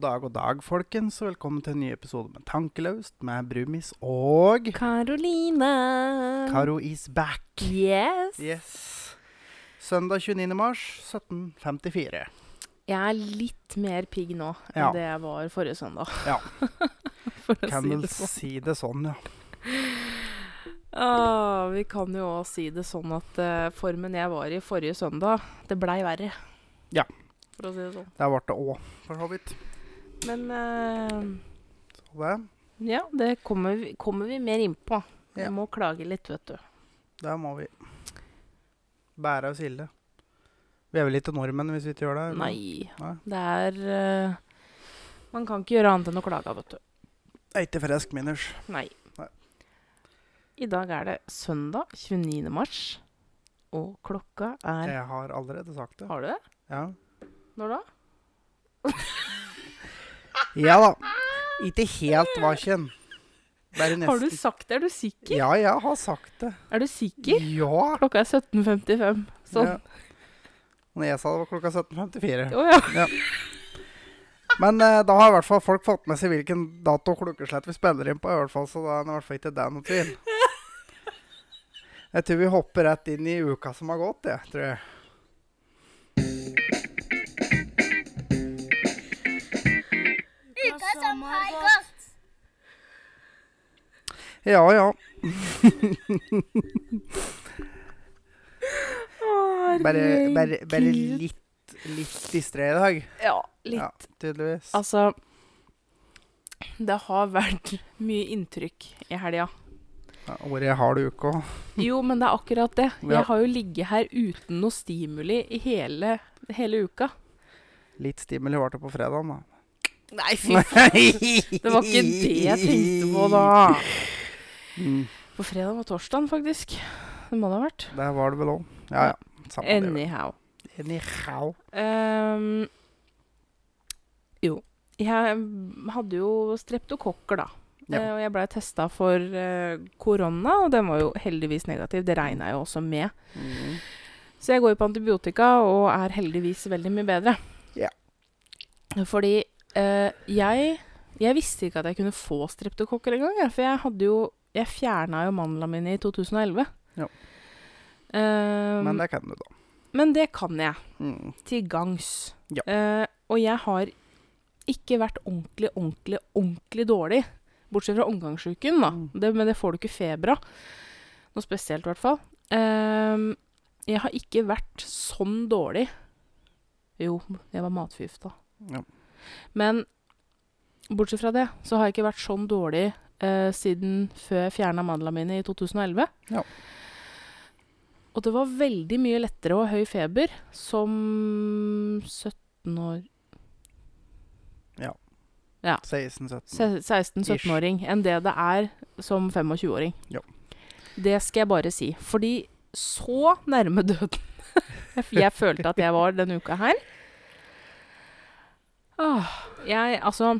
dag og dag, folkens, og velkommen til en ny episode med Tankelaust med Brumis og Karoline. Karo is back. Yes. Yes. Søndag 29. mars 1754. Jeg er litt mer pigg nå enn Ja. det jeg var forrige søndag. Ja. For å Kan si vel det sånn. si det sånn, ja. Åh, vi kan jo òg si det sånn at eh, formen jeg var i forrige søndag, det blei verre. Ja. For å si det sånn. Der ble det òg, for så vidt. Men eh, Så det, ja, det kommer vi, kommer vi mer innpå. Vi Ja. må klage litt, vet du. der må vi bære oss ille. Vi er vel ikke nordmenn hvis vi ikke gjør det? eller? Nei. Nei. Det er eh, Man kan ikke gjøre annet enn å klage, vet du. Er ikke frisk, Miners. Nei. Nei. I dag er det søndag 29. mars, og klokka er Jeg har allerede sagt det. Har du det? Ja. Når da? Ja da. Ikke helt vaken. Bare nesten. Har du sagt det? Er du sikker? Ja, jeg har sagt det. Er du sikker? Ja. Klokka er 17.55. Sånn. Ja. Når jeg sa det var klokka 17.54. Å ja. Men eh, da har i hvert fall folk fått med seg hvilken dato og klokkeslett vi spiller inn på, i hvert fall, så da er det i hvert fall ikke det noe tvil. Jeg tror vi hopper rett inn i uka som har gått, jeg, tror jeg. Uka som har gått. Ja, ja. Bare, bare, bare Herregud. litt, litt distré i dag. Ja, litt. Ja, tydeligvis. Altså Det har vært mye inntrykk i helga. Ja, Ordet har du ikke òg. Jo, men det er akkurat det. Ja. Jeg har jo ligget her uten noe stimuli i hele, hele uka. Litt stimuli var det på fredagen, da. Nei, fy Det Det var ikke det jeg tenkte på da. Mm, På fredag og torsdag, faktisk. Det må det ha vært. der var det vel òg. Ja, ja. Samme det, vel. Anyhow. Anyhow. Ehm, jo. Jeg hadde jo streptokokker, da. Ja. Eh, og jeg blei testa for eh, korona, og den var jo heldigvis negativ. Det regna jeg jo også med. Mm. Så jeg går jo på antibiotika og er heldigvis veldig mye bedre. Ja. Fordi eh, jeg Jeg visste ikke at jeg kunne få streptokokker engang. jeg, For jeg hadde jo Jeg fjerna jo mandlene mine i 2011. Ja. Ehm, Men det kan du, da. men det kan jeg Mm. til gangs. Ja. Eh, og jeg har ikke vært ordentlig, ordentlig, ordentlig dårlig. Bortsett fra omgangsuken, da. Mm. Det, men det får du ikke feber av. Noe spesielt, i hvert fall. Eh, jeg har ikke vært sånn dårlig. Jo, jeg var matforgifta. Ja. Men bortsett fra det, så har jeg ikke vært sånn dårlig eh, siden før jeg fjerna mandlene mine i 2011. Ja. Og det var veldig mye lettere å ha høy feber som 17 år Ja. Ja. 16-17. 16-17-åring enn det det er som 25-åring. Ja. Det skal jeg bare si. Fordi så nærme døden jeg følte at jeg var denne uka her. Åh, jeg, altså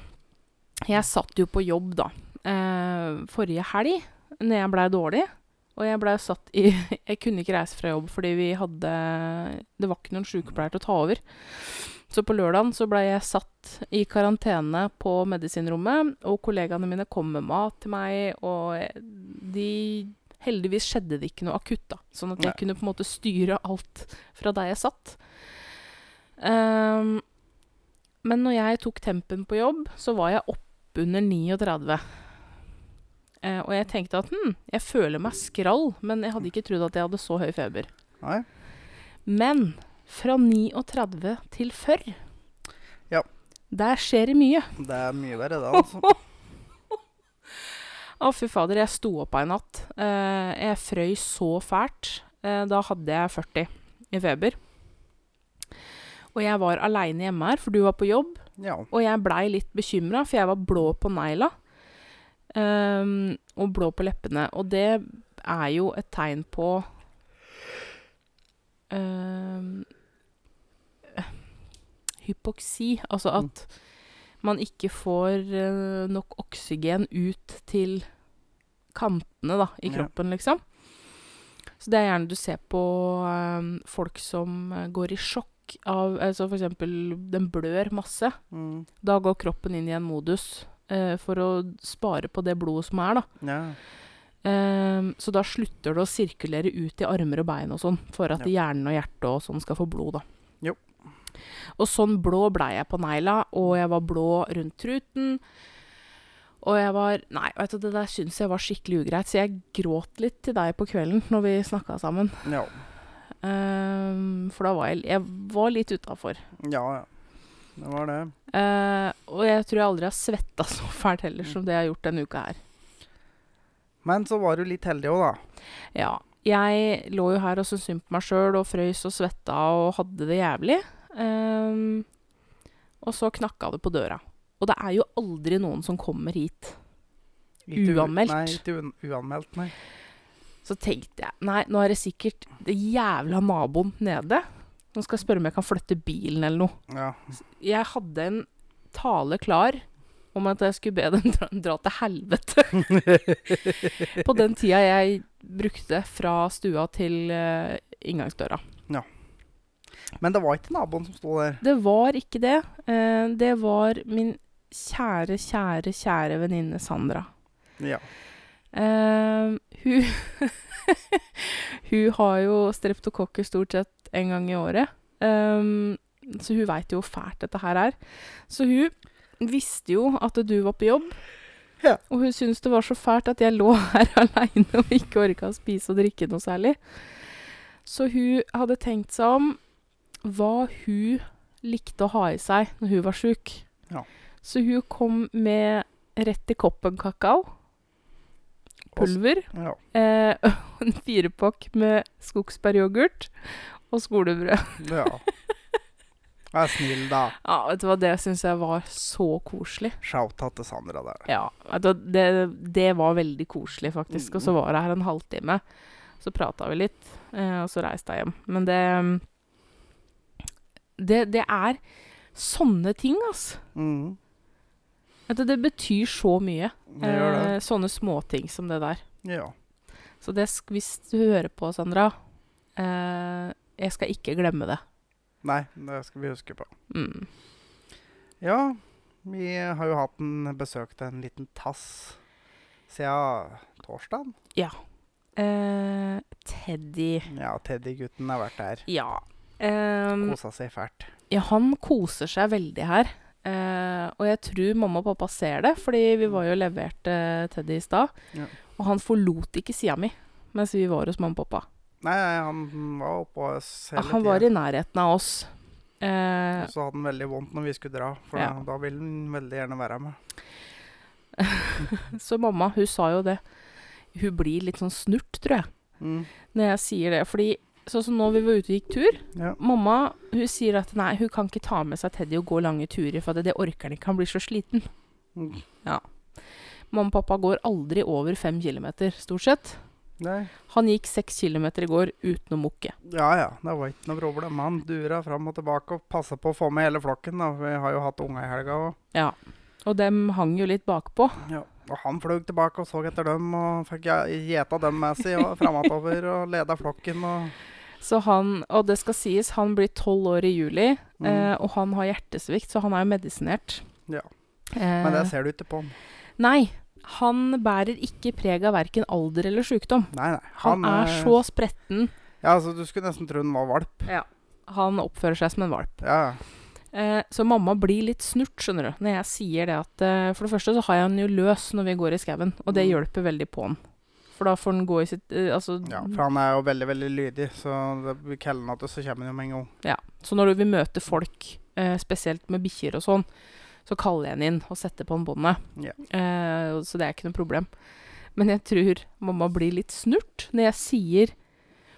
Jeg satt jo på jobb, da. Eh, forrige helg, når jeg blei dårlig. Og jeg blei satt i Jeg kunne ikke reise fra jobb fordi vi hadde Det var ikke noen sykepleier til å ta over. Så på lørdagen så blei jeg satt i karantene på medisinrommet, og kollegaene mine kom med mat til meg, og eh, de Heldigvis skjedde det ikke noe akutt, da, sånn at jeg Nei. kunne på en måte styre alt fra der jeg satt. Ehm, men når jeg tok tempen på jobb, så var jeg oppunder 39. Eh, og jeg tenkte at hm, jeg føler meg skrall, men jeg hadde ikke trodd at jeg hadde så høy feber. Nei. Men fra 39 til 40 Ja. Der skjer det mye. Det er mye verre, det, altså. Å, fy fader, jeg sto opp ei natt. Eh, jeg frøys så fælt. Eh, da hadde jeg 40 i feber. Og jeg var aleine hjemme her, for du var på jobb. Ja. Og jeg blei litt bekymra, for jeg var blå på negla. ehm, og blå på leppene. Og det er jo et tegn på ehm, eh, Hypoksi. Altså at Mm. man ikke får eh, nok oksygen ut til kantene da, i Ja. kroppen, liksom. Så det er gjerne du ser på ehm, folk som eh, går i sjokk. sjuk av altså for eksempel den blør masse, Mm. da går kroppen inn i en modus eh, for å spare på det blodet som er, da. Ja. Ehm, så da slutter det å sirkulere ut i armer og bein og sånn, for at hjernen og hjertet og sånn skal få blod, da. Jo. Og sånn blå blei jeg på negla, og jeg var blå rundt truten. Og jeg var Nei, vet du, det der syns jeg var skikkelig ugreit, så jeg gråt litt til deg på kvelden når vi snakka sammen. Ja. Ehm, for da var jeg Jeg var litt utafor. ja, ja. Det var det. Eh, og jeg tror jeg aldri har svetta så fælt heller som det jeg har gjort denne uka her. Men så var du litt heldig òg, da. Ja. Jeg lå jo her og syntes synd på meg sjøl og frøys og svetta og hadde det jævlig. Ehm, og så knakka det på døra. Og det er jo aldri noen som kommer hit. Ikke u- Uanmeldt. Nei, ikke un uanmeldt, nei. Så tenkte jeg nei, nå er det sikkert det jævla naboen nede som skal spørre om jeg kan flytte bilen eller noe. Ja. Jeg hadde en tale klar om at jeg skulle be dem dra, dra til helvete. på den tida jeg brukte fra stua til eh, inngangsdøra. Men det var ikke naboen som sto der. Det var ikke det. Eh, Det var min kjære, kjære, kjære venninne Sandra. Ja. Eh, Hun, hun har jo streptokokker stort sett en gang i året, Eh, så hun veit jo hvor fælt dette her er. Så hun visste jo at du var på jobb, Ja. og hun syntes det var så fælt at jeg lå her aleine og ikke orka å spise og drikke noe særlig. Så hun hadde tenkt seg om hva hun likte å ha i seg når hun var sjuk. Ja. Så hun kom med rett i koppen kakao, pulver, ja. eh, og en firepakk med skogsbæryoghurt og skolebrød. ja. Vær snill, da. Ja, vet du hva, det syns jeg var så koselig. Shout-out til Sandra der. Ja, vet du, hva, det, det var veldig koselig, faktisk. Og så var jeg her en halvtime. Så prata vi litt, eh, og så reiste jeg hjem. Men det mm, Det, det er sånne ting, altså. Mm. Vet du, Det betyr så mye. Det gjør det. Eh, sånne småting som det der. Ja. Så det, sk- hvis du hører på, Sandra eh, Jeg skal ikke glemme det. Nei, det skal vi huske på. Mm. Ja, vi har jo hatt en besøk til en liten tass siden torsdagen. Eh, Teddy. Ja, Teddy-gutten har vært der. Ja. Ehm, Kosa seg fælt. ja. Han koser seg veldig her. Eh, og jeg tror mamma og pappa ser det, fordi vi var jo levert eh, Teddy i stad. Ja. Og han forlot ikke sida mi mens vi var hos mamma og pappa. Nei, nei, han var oppå oss hele Han var i nærheten av oss. Eh, Så hadde han veldig vondt når vi skulle dra, for Ja. da, da ville han veldig gjerne være med. Så mamma, hun sa jo det. Hun blir litt sånn snurt, tror jeg, Mm. når jeg sier det. Fordi sånn som nå vi var ute og gikk tur Ja. Mamma hun sier at nei, hun kan ikke ta med seg Teddy og gå lange turer, for det, det orker han ikke, han blir så sliten. Mm. Mamma og pappa går aldri over fem kilometer, stort sett. Nei. Han gikk seks kilometer i går uten å mukke. Ja ja, det var ikke noe problem. Han dura fram og tilbake og passa på å få med hele flokken. da. Vi har jo hatt unga i helga òg. Ja. Og dem hang jo litt bakpå. Ja. Og han fløy tilbake og så etter dem, og fikk gje- gjeta dem med seg og framover og leda flokken. og... Så han, og det skal sies, han blir tolv år i juli, Mm. eh, og han har hjertesvikt, så han er jo medisinert. Ja. Eh, Men det ser du ikke på han. Nei, han bærer ikke preg av verken alder eller sykdom. Nei, nei. Han, er eh, så spretten. Ja, altså, Du skulle nesten tro han var valp. Han oppfører seg som en valp. Ja, Eh, så mamma blir litt snurt, skjønner du, når jeg sier det at eh, For det første så har jeg han jo løs når vi går i skauen, og det Mm. hjelper veldig på han. For da får han gå i sitt eh, Altså ja, for han er jo veldig veldig lydig, så det blir kellen at det, så kommer han jo med en gang. Så når vi møter folk, eh, spesielt med bikkjer og sånn, så kaller jeg han inn og setter på han båndet. Ja. Eh, og- så det er ikke noe problem. Men jeg tror mamma blir litt snurt når jeg sier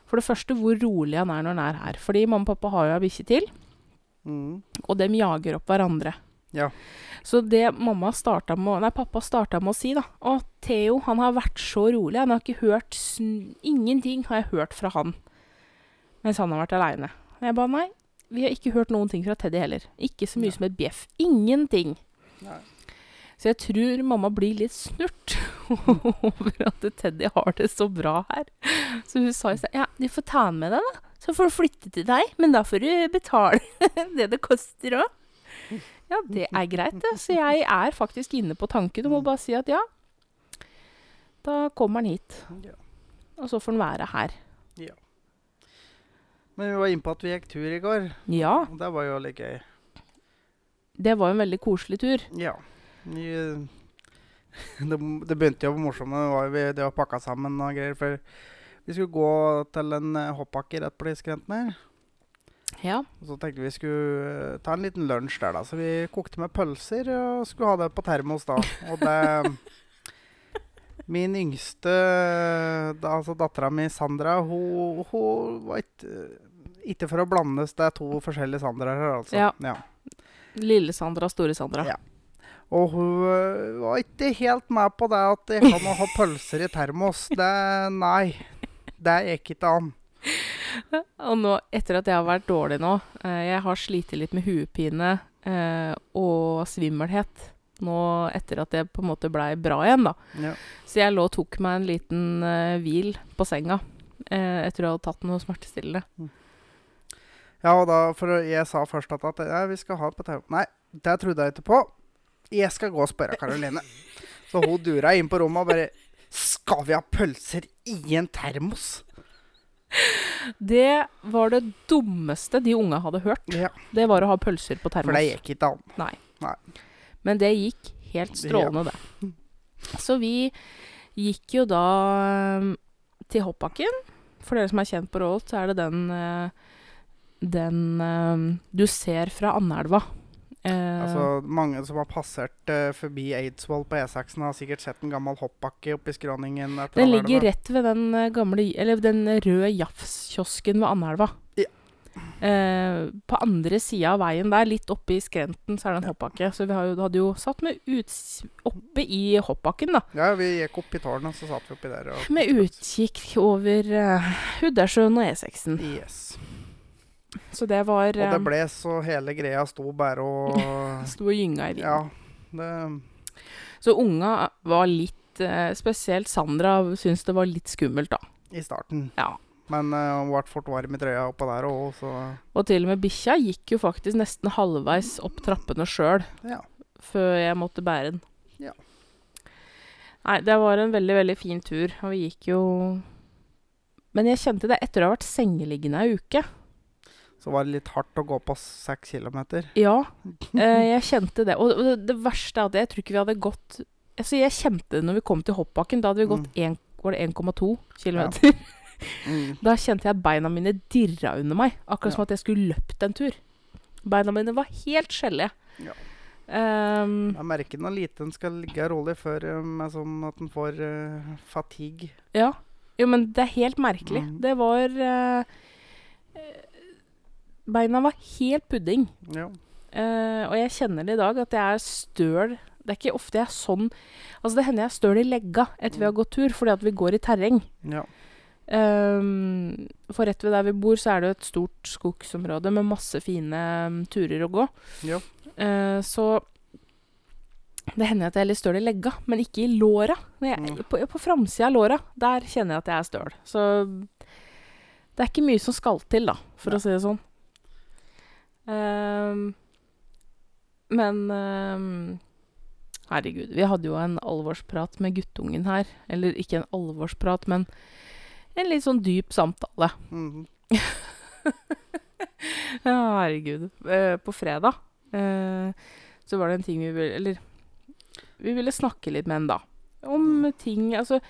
for det første hvor rolig han er når han er her. Fordi mamma og pappa har jo ei bikkje til, Mm. og dem jager opp hverandre. Ja. Så det mamma starta med å- Nei, pappa starta med å si, da Å, Theo, han har vært så rolig. Han har ikke hørt sn Ingenting har jeg hørt fra han mens han har vært aleine. Og jeg ba nei. Vi har ikke hørt noen ting fra Teddy heller. Ikke så mye Nei. som et bjeff. Ingenting. Nei. Så jeg tror mamma blir litt snurt over at Teddy har det så bra her. Så hun sa i stad Ja, du får ta han med deg, da. Så får du flytte til deg, men da får du betale det det koster òg. Ja, det er greit, det. Så jeg er faktisk inne på tanken om å bare si at ja, da kommer han hit. Ja. Og så får han være her. Men vi var inne på at vi gikk tur i går, Ja, og det var jo litt gøy. det var jo en veldig koselig tur. Ja. Vi, det, det begynte jo morsomt det var jo vi- det å pakke sammen og greier. For vi skulle gå til en eh, hoppbakke rett på diskrenten her. Ja. Og så tenkte vi skulle eh, ta en liten lunsj der, da. Så vi kokte med pølser og skulle ha det på termos da. Og det Min yngste, da, altså dattera mi Sandra, hun, hun var ikke Ikke for å blandes, det er to forskjellige Sandraer her, altså. Ja. ja. Lille Sandra, store Sandra. Ja. Og hun øh, var ikke helt med på det at jeg kan ha pølser i termos. Det, nei, det gikk ikke an. Og nå, etter at jeg har vært dårlig nå, eh, jeg har slitt litt med huepine eh, og svimmelhet nå etter at jeg på en måte blei bra igjen, da. Ja. Så jeg lå og tok meg en liten eh, hvil på senga eh, etter å ha tatt noe smertestillende. ja, og da, for jeg sa først at, at ja, vi skal ha det på termos. Nei, det trodde jeg ikke på. Jeg skal gå og spørre Karoline. Så hun dura inn på rommet og bare Skal vi ha pølser i en termos? Det var det dummeste de unga hadde hørt. Ja, Det var å ha pølser på For det termos. gikk ikke an. Men det gikk helt strålende, det. Så vi gikk jo da eh, til hoppbakken. For dere som er kjent på Rålt, så er det den eh, den eh, du ser fra Andelva. Eh, Altså, mange som har passert eh, forbi Eidsvoll på E6-en, har sikkert sett en gammel hoppbakke oppi skråningen. etter den Avelva. ligger rett ved den eh, gamle Eller den røde jafskiosken ved Andelva. Ja. Eh, på andre sida av veien der, litt oppe i skrenten, så er det en hoppbakke. Så vi har jo, hadde jo satt med uts oppe i hoppbakken, da. Ja, vi gikk opp i tårnet, og så satt vi oppi der. Og Med utkikk over uh, Huddasjøen og E6-en. Yes. Så det var Og det eh, ble så hele greia sto bare og Sto og gynga i vinden. Ja. Det, Så unga var litt eh, Spesielt Sandra syntes det var litt skummelt, da. I starten. Ja. Men eh, hun ble fort varm i trøya oppå der òg, så Og til og med bikkja gikk jo faktisk nesten halvveis opp trappene sjøl ja. før jeg måtte bære den. Ja. Nei, det var en veldig, veldig fin tur, og vi gikk jo Men jeg kjente det etter å ha vært sengeliggende ei uke. Så var det litt hardt å gå på seks kilometer. Ja, eh, jeg kjente det. Og og det, det verste er at jeg tror ikke vi hadde gått altså Jeg kjente det når vi kom til hoppbakken. Da hadde vi gått en- var det 1,2 km. Mm. Da kjente jeg at beina mine dirra under meg. Akkurat som at jeg skulle løpt en tur. Beina mine var helt skjellige. Ja. Ehm, Jeg merker når lite en skal ligge rolig før eh, med sånn at en får eh, fatigue. ja. Jo, men det er helt merkelig. Mm. Det var eh, eh, Beina var helt pudding. Ja. Eh, og jeg kjenner det i dag, at jeg er støl. Det er ikke ofte jeg er sånn Altså, det hender jeg er støl i legga etter Mm. vi har gått tur, fordi at vi går i terreng. ja. Ehm, for rett ved der vi bor, så er det jo et stort skogsområde med masse fine mm, turer å gå. Ja. Eh, så det hender at jeg er litt støl i legga, men ikke i låra. Når jeg, Mm. på, på framsida av låra, der kjenner jeg at jeg er støl. Så det er ikke mye som skal til, da, for Nei. å si det sånn. Ehm, men ehm, herregud, vi hadde jo en alvorsprat med guttungen her. Eller ikke en alvorsprat, men en litt sånn dyp samtale. Mm. Ja, herregud. Eh, på fredag eh, så var det en ting vi ville Eller vi ville snakke litt med en da. Om ting Altså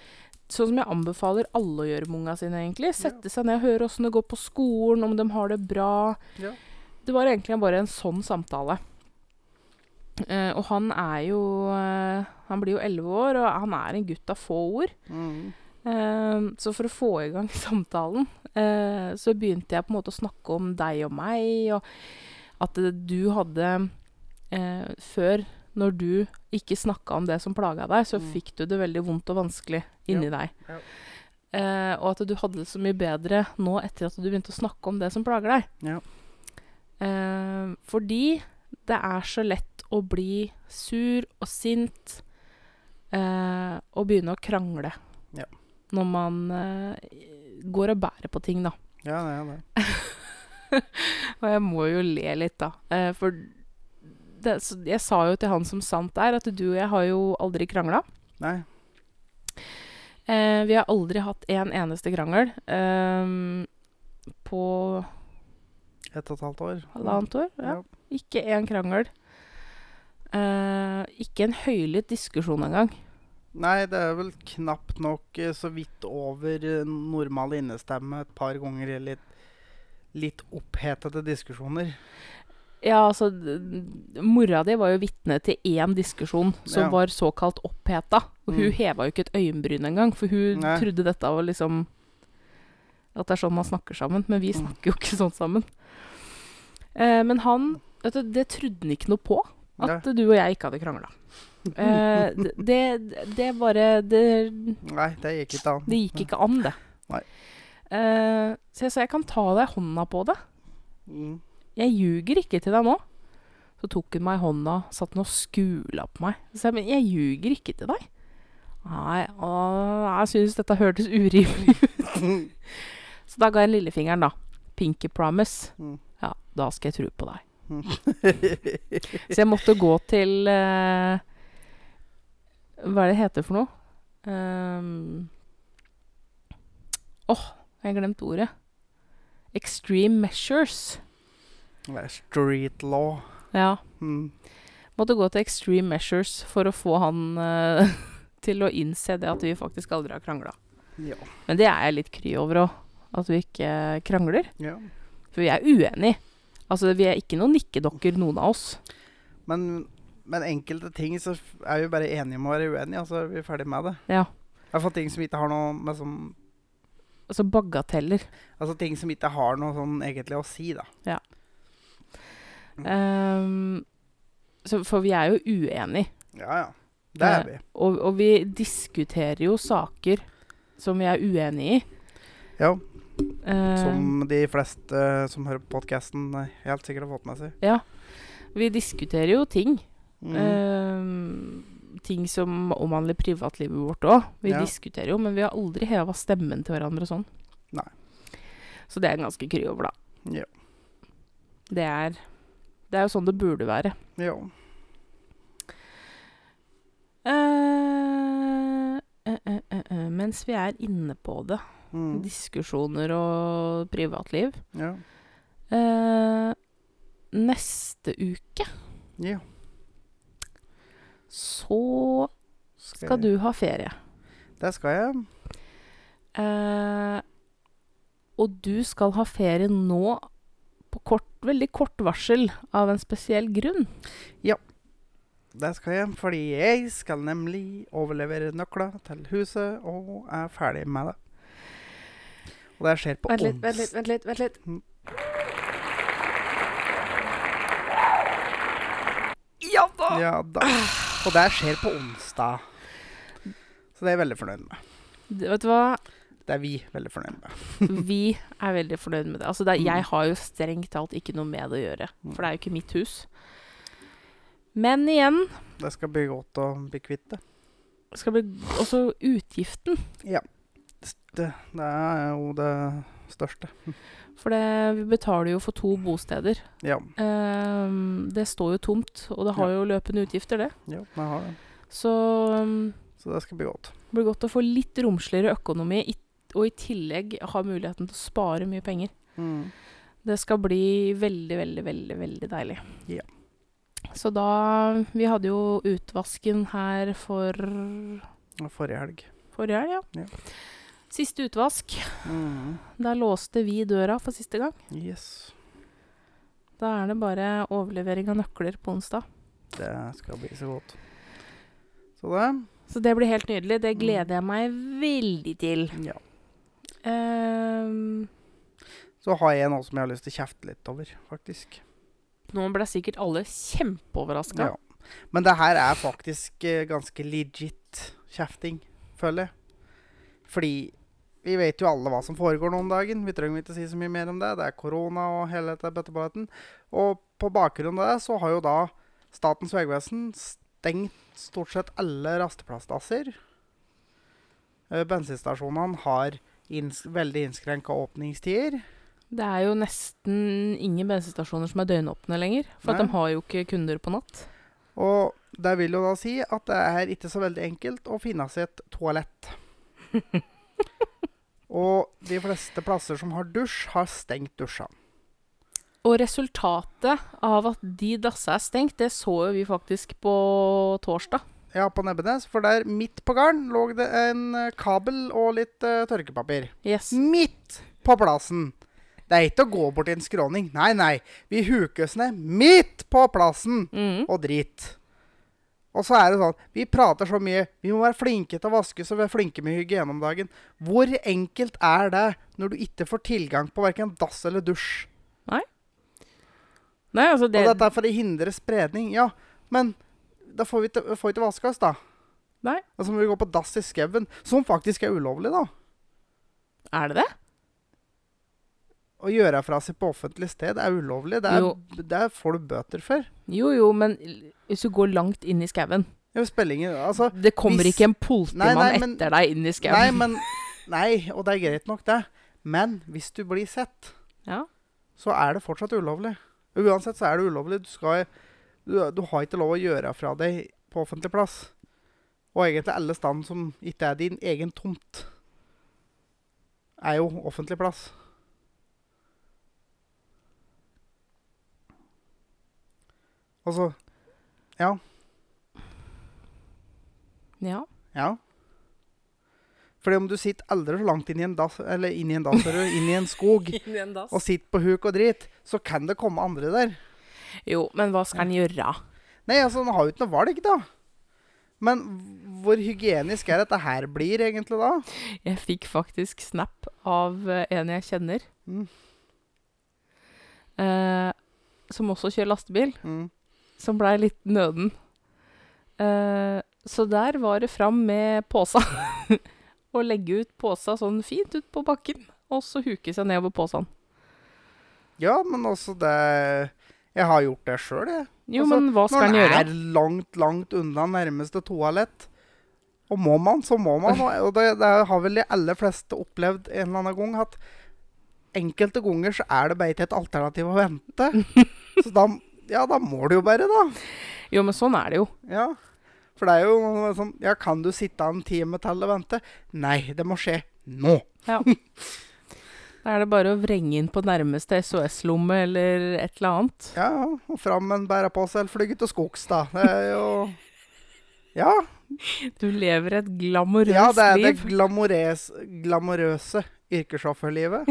sånn som jeg anbefaler alle å gjøre med unga sine, egentlig. Sette seg ned og høre åssen det går på skolen, om de har det bra. Ja. Det var egentlig bare en sånn samtale. Eh, og han er jo eh, Han blir jo elleve år, og han er en gutt av få ord. Mm. Ehm, Så for å få i gang samtalen, eh, så begynte jeg på en måte å snakke om deg og meg, og at eh, du hadde eh, Før, når du ikke snakka om det som plaga deg, så Mm. fikk du det veldig vondt og vanskelig inni deg. ja. Eh, og at du hadde det så mye bedre nå etter at du begynte å snakke om det som plager deg. Ja. Eh, fordi det er så lett å bli sur og sint eh, og begynne å krangle Ja. når man eh, går og bærer på ting, da. Ja, det er det. Og jeg må jo le litt, da. Eh, for det, så jeg sa jo til han som sant er, at du og jeg har jo aldri krangla. Nei. Eh, vi har aldri hatt en eneste krangel eh, på Ett og et halvt år. halvannet år. Ja. Ja. Ikke én krangel. Eh, ikke en høylytt diskusjon engang. Nei, det er vel knapt nok eh, så vidt over eh, normal innestemme et par ganger i litt, litt opphetede diskusjoner. Ja, altså d- Mora di var jo vitne til én diskusjon som Ja. var såkalt oppheta. Og hun Mm. heva jo ikke et øyenbryn engang, for hun Nei. trodde dette var liksom At det er sånn man snakker sammen. Men vi Mm. snakker jo ikke sånn sammen. Eh, men han vet du, Det trodde han ikke noe på. At du og jeg ikke hadde krangla. Eh, d- det, det bare det, Nei, det gikk ikke an. det gikk ikke an, det. Nei. Eh, så jeg sa jeg kan ta deg i hånda på det. Mm. Jeg ljuger ikke til deg nå. Så tok hun meg i hånda, satt den og skula på meg. Så jeg, men jeg ljuger ikke til deg. Nei, å, jeg synes dette hørtes urimelig ut. Så da ga jeg lillefingeren, da. Pinky promise. Mm. Ja, da skal jeg tro på deg. Så jeg måtte gå til eh, Hva er det det heter for noe? Ehm, Åh, jeg har glemt ordet. Extreme measures. Det er Street law. Ja. Mm. Måtte gå til extreme measures for å få han eh, til å innse det at vi faktisk aldri har krangla. Ja. Men det er jeg litt kry over òg. At vi ikke krangler. ja. For vi er uenige. Altså, vi er ikke noen nikkedokker, noen av oss. Men, men enkelte ting så f- er vi bare enige om å være uenige, og så er vi ferdig med det. Ja. I hvert fall ting som ikke har noe med sånn Altså bagateller. Altså ting som ikke har noe sånn egentlig å si, da. Ehm, så, for vi er jo uenige. Ja, ja. Det er vi. Og, og vi diskuterer jo saker som vi er uenige i. Ja, Ehm, Som de fleste eh, som hører på podkasten helt sikkert har fått med seg. ja. Vi diskuterer jo ting. Mm. Uh. Eh, ting som omhandler privatlivet vårt òg. Vi Ja. diskuterer jo, men vi har aldri heva stemmen til hverandre og sånn. Nei. Så det er en ganske kry over, da. Ja. Det er, det er jo sånn det burde være. ja. Eh, eh, eh, eh, eh, mens vi er inne på det, Mm. diskusjoner og privatliv ja. eh, Neste uke Ja. så Skal, skal jeg- du ha ferie. Det skal jeg. Eh, og du skal ha ferie nå på kort, veldig kort varsel av en spesiell grunn. Det skal jeg. Fordi jeg skal nemlig overlevere nøkla til huset, og er ferdig med det. Og det skjer på Mm. ons- vent litt, vent litt. Ja da! Ja da. Og det skjer på onsdag. Så det er jeg veldig fornøyd med. Du, vet du hva? Det er vi veldig fornøyd med. Vi er veldig fornøyd med det. Altså, det er, Mm. jeg har jo strengt talt ikke noe med det å gjøre, Mm. for det er jo ikke mitt hus. Men igjen Det skal bli godt å bli kvitt det. skal bli også utgiften. Det, det er jo det største. For det, vi betaler jo for to bosteder. Ja. Ehm, det står jo tomt, og det har jo løpende utgifter, det. ja jeg har det. Så um, Så det skal bli godt. det blir godt å få litt romsligere økonomi, i- og i tillegg ha muligheten til å spare mye penger. Mm. Det skal bli veldig, veldig, veldig veldig deilig. Ja. Så da Vi hadde jo utvasken her for Forrige helg. forrige helg, ja. Ja. Siste utvask. Mm. Der låste vi døra for siste gang. Yes. Da er det bare overlevering av nøkler på onsdag. Det skal bli så godt. Så det Så det blir helt nydelig. Det Mm. gleder jeg meg veldig til. Ja. Ehm, Så har jeg noe som jeg har lyst til å kjefte litt over, faktisk. nå ble sikkert alle kjempeoverraska. Ja. Men det her er faktisk eh, ganske legit kjefting, føler jeg. Fordi vi vet jo alle hva som foregår nå om dagen. Vi trenger ikke si så mye mer om det. Det er korona og hele dette bøtteballetten. Og på bakgrunn av det så har jo da Statens vegvesen stengt stort sett alle rasteplassplasser. Eh, Bensinstasjonene har inns veldig innskrenka åpningstider. Det er jo nesten ingen bensinstasjoner som er døgnåpne lenger. For at Nei. de har jo ikke kunder på natt. Og det vil jo da si at det er ikke så veldig enkelt å finne seg et toalett. Og de fleste plasser som har dusj, har stengt dusja. Og resultatet av at de dassa er stengt, det så jo vi faktisk på torsdag. Ja, på Nebbenes, for der midt på garden lå det en eh, kabel og litt eh, tørkepapir. Yes. Mm. Midt på plassen! Det er ikke å gå bort i en skråning. Nei, nei. Vi hukes ned midt på plassen! Mm. og drit. Og så er det sånn Vi prater så mye. Vi må være flinke til å vaske så vi er flinke med hygiene om dagen. Hvor enkelt er det når du ikke får tilgang på verken dass eller dusj? Nei, altså Og det, dette er for å hindre spredning. Ja, men da får vi ikke, får vi ikke vaske oss, da. Nei. Og så må vi gå på dass i skauen, som faktisk er ulovlig, da. Er det det? Å gjøre fra seg på offentlig sted er ulovlig. Det, Jo. er, det får du bøter for. Jo jo, men l- hvis du går langt inn i skauen Det spiller ingen Altså, Det kommer hvis- ikke en Nei, politimann nei, men- etter deg inn i nei, skauen. men Nei, og det er greit nok, det. Men hvis du blir sett Ja. så er det fortsatt ulovlig. Uansett så er det ulovlig. Du, skal, du, du har ikke lov å gjøre fra deg på offentlig plass. Og egentlig alle stand som ikke er din egen tomt, er jo offentlig plass. Altså ja. Ja. Fordi om du sitter aldri så langt inn i en dass, eller inn i en dass, hører du, inn i en skog, Inn i en dass. og sitter på huk og drit, så kan det komme andre der. Jo, men hva skal en gjøre? Nei, altså, den har jo ikke noe valg, da. Men hvor hygienisk er dette her blir, egentlig, da? Jeg fikk faktisk snap av eh, en jeg kjenner, Mm. eh, som også kjører lastebil, Mm. som blei litt nøden. Eh, så der var det fram med påsa. og legge ut påsa sånn fint ut på bakken, og så huke seg nedover påsen. Ja, men også det Jeg har gjort det sjøl, jeg. Jo, Altså, men hva skal Når en en gjøre? er langt, langt unna nærmeste toalett. Og må man, så må man. Og og det, det har vel de aller fleste opplevd en eller annen gang. At enkelte ganger så er det bare ikke et alternativ å vente. Så da, ja, da må du jo bare, da. Jo, men sånn er det jo. Ja. For det er jo noe sånn Ja, kan du sitte en time til og vente? Nei, det må skje nå. Da er det bare å vrenge inn på nærmeste SOS-lomme eller et eller annet. Ja, ja, og fram med en bærepose eller flyge til skogs, da. Det er jo Ja. Du lever et glamorøst ja det er det liv. glamores, glamorøse yrkessjåførlivet.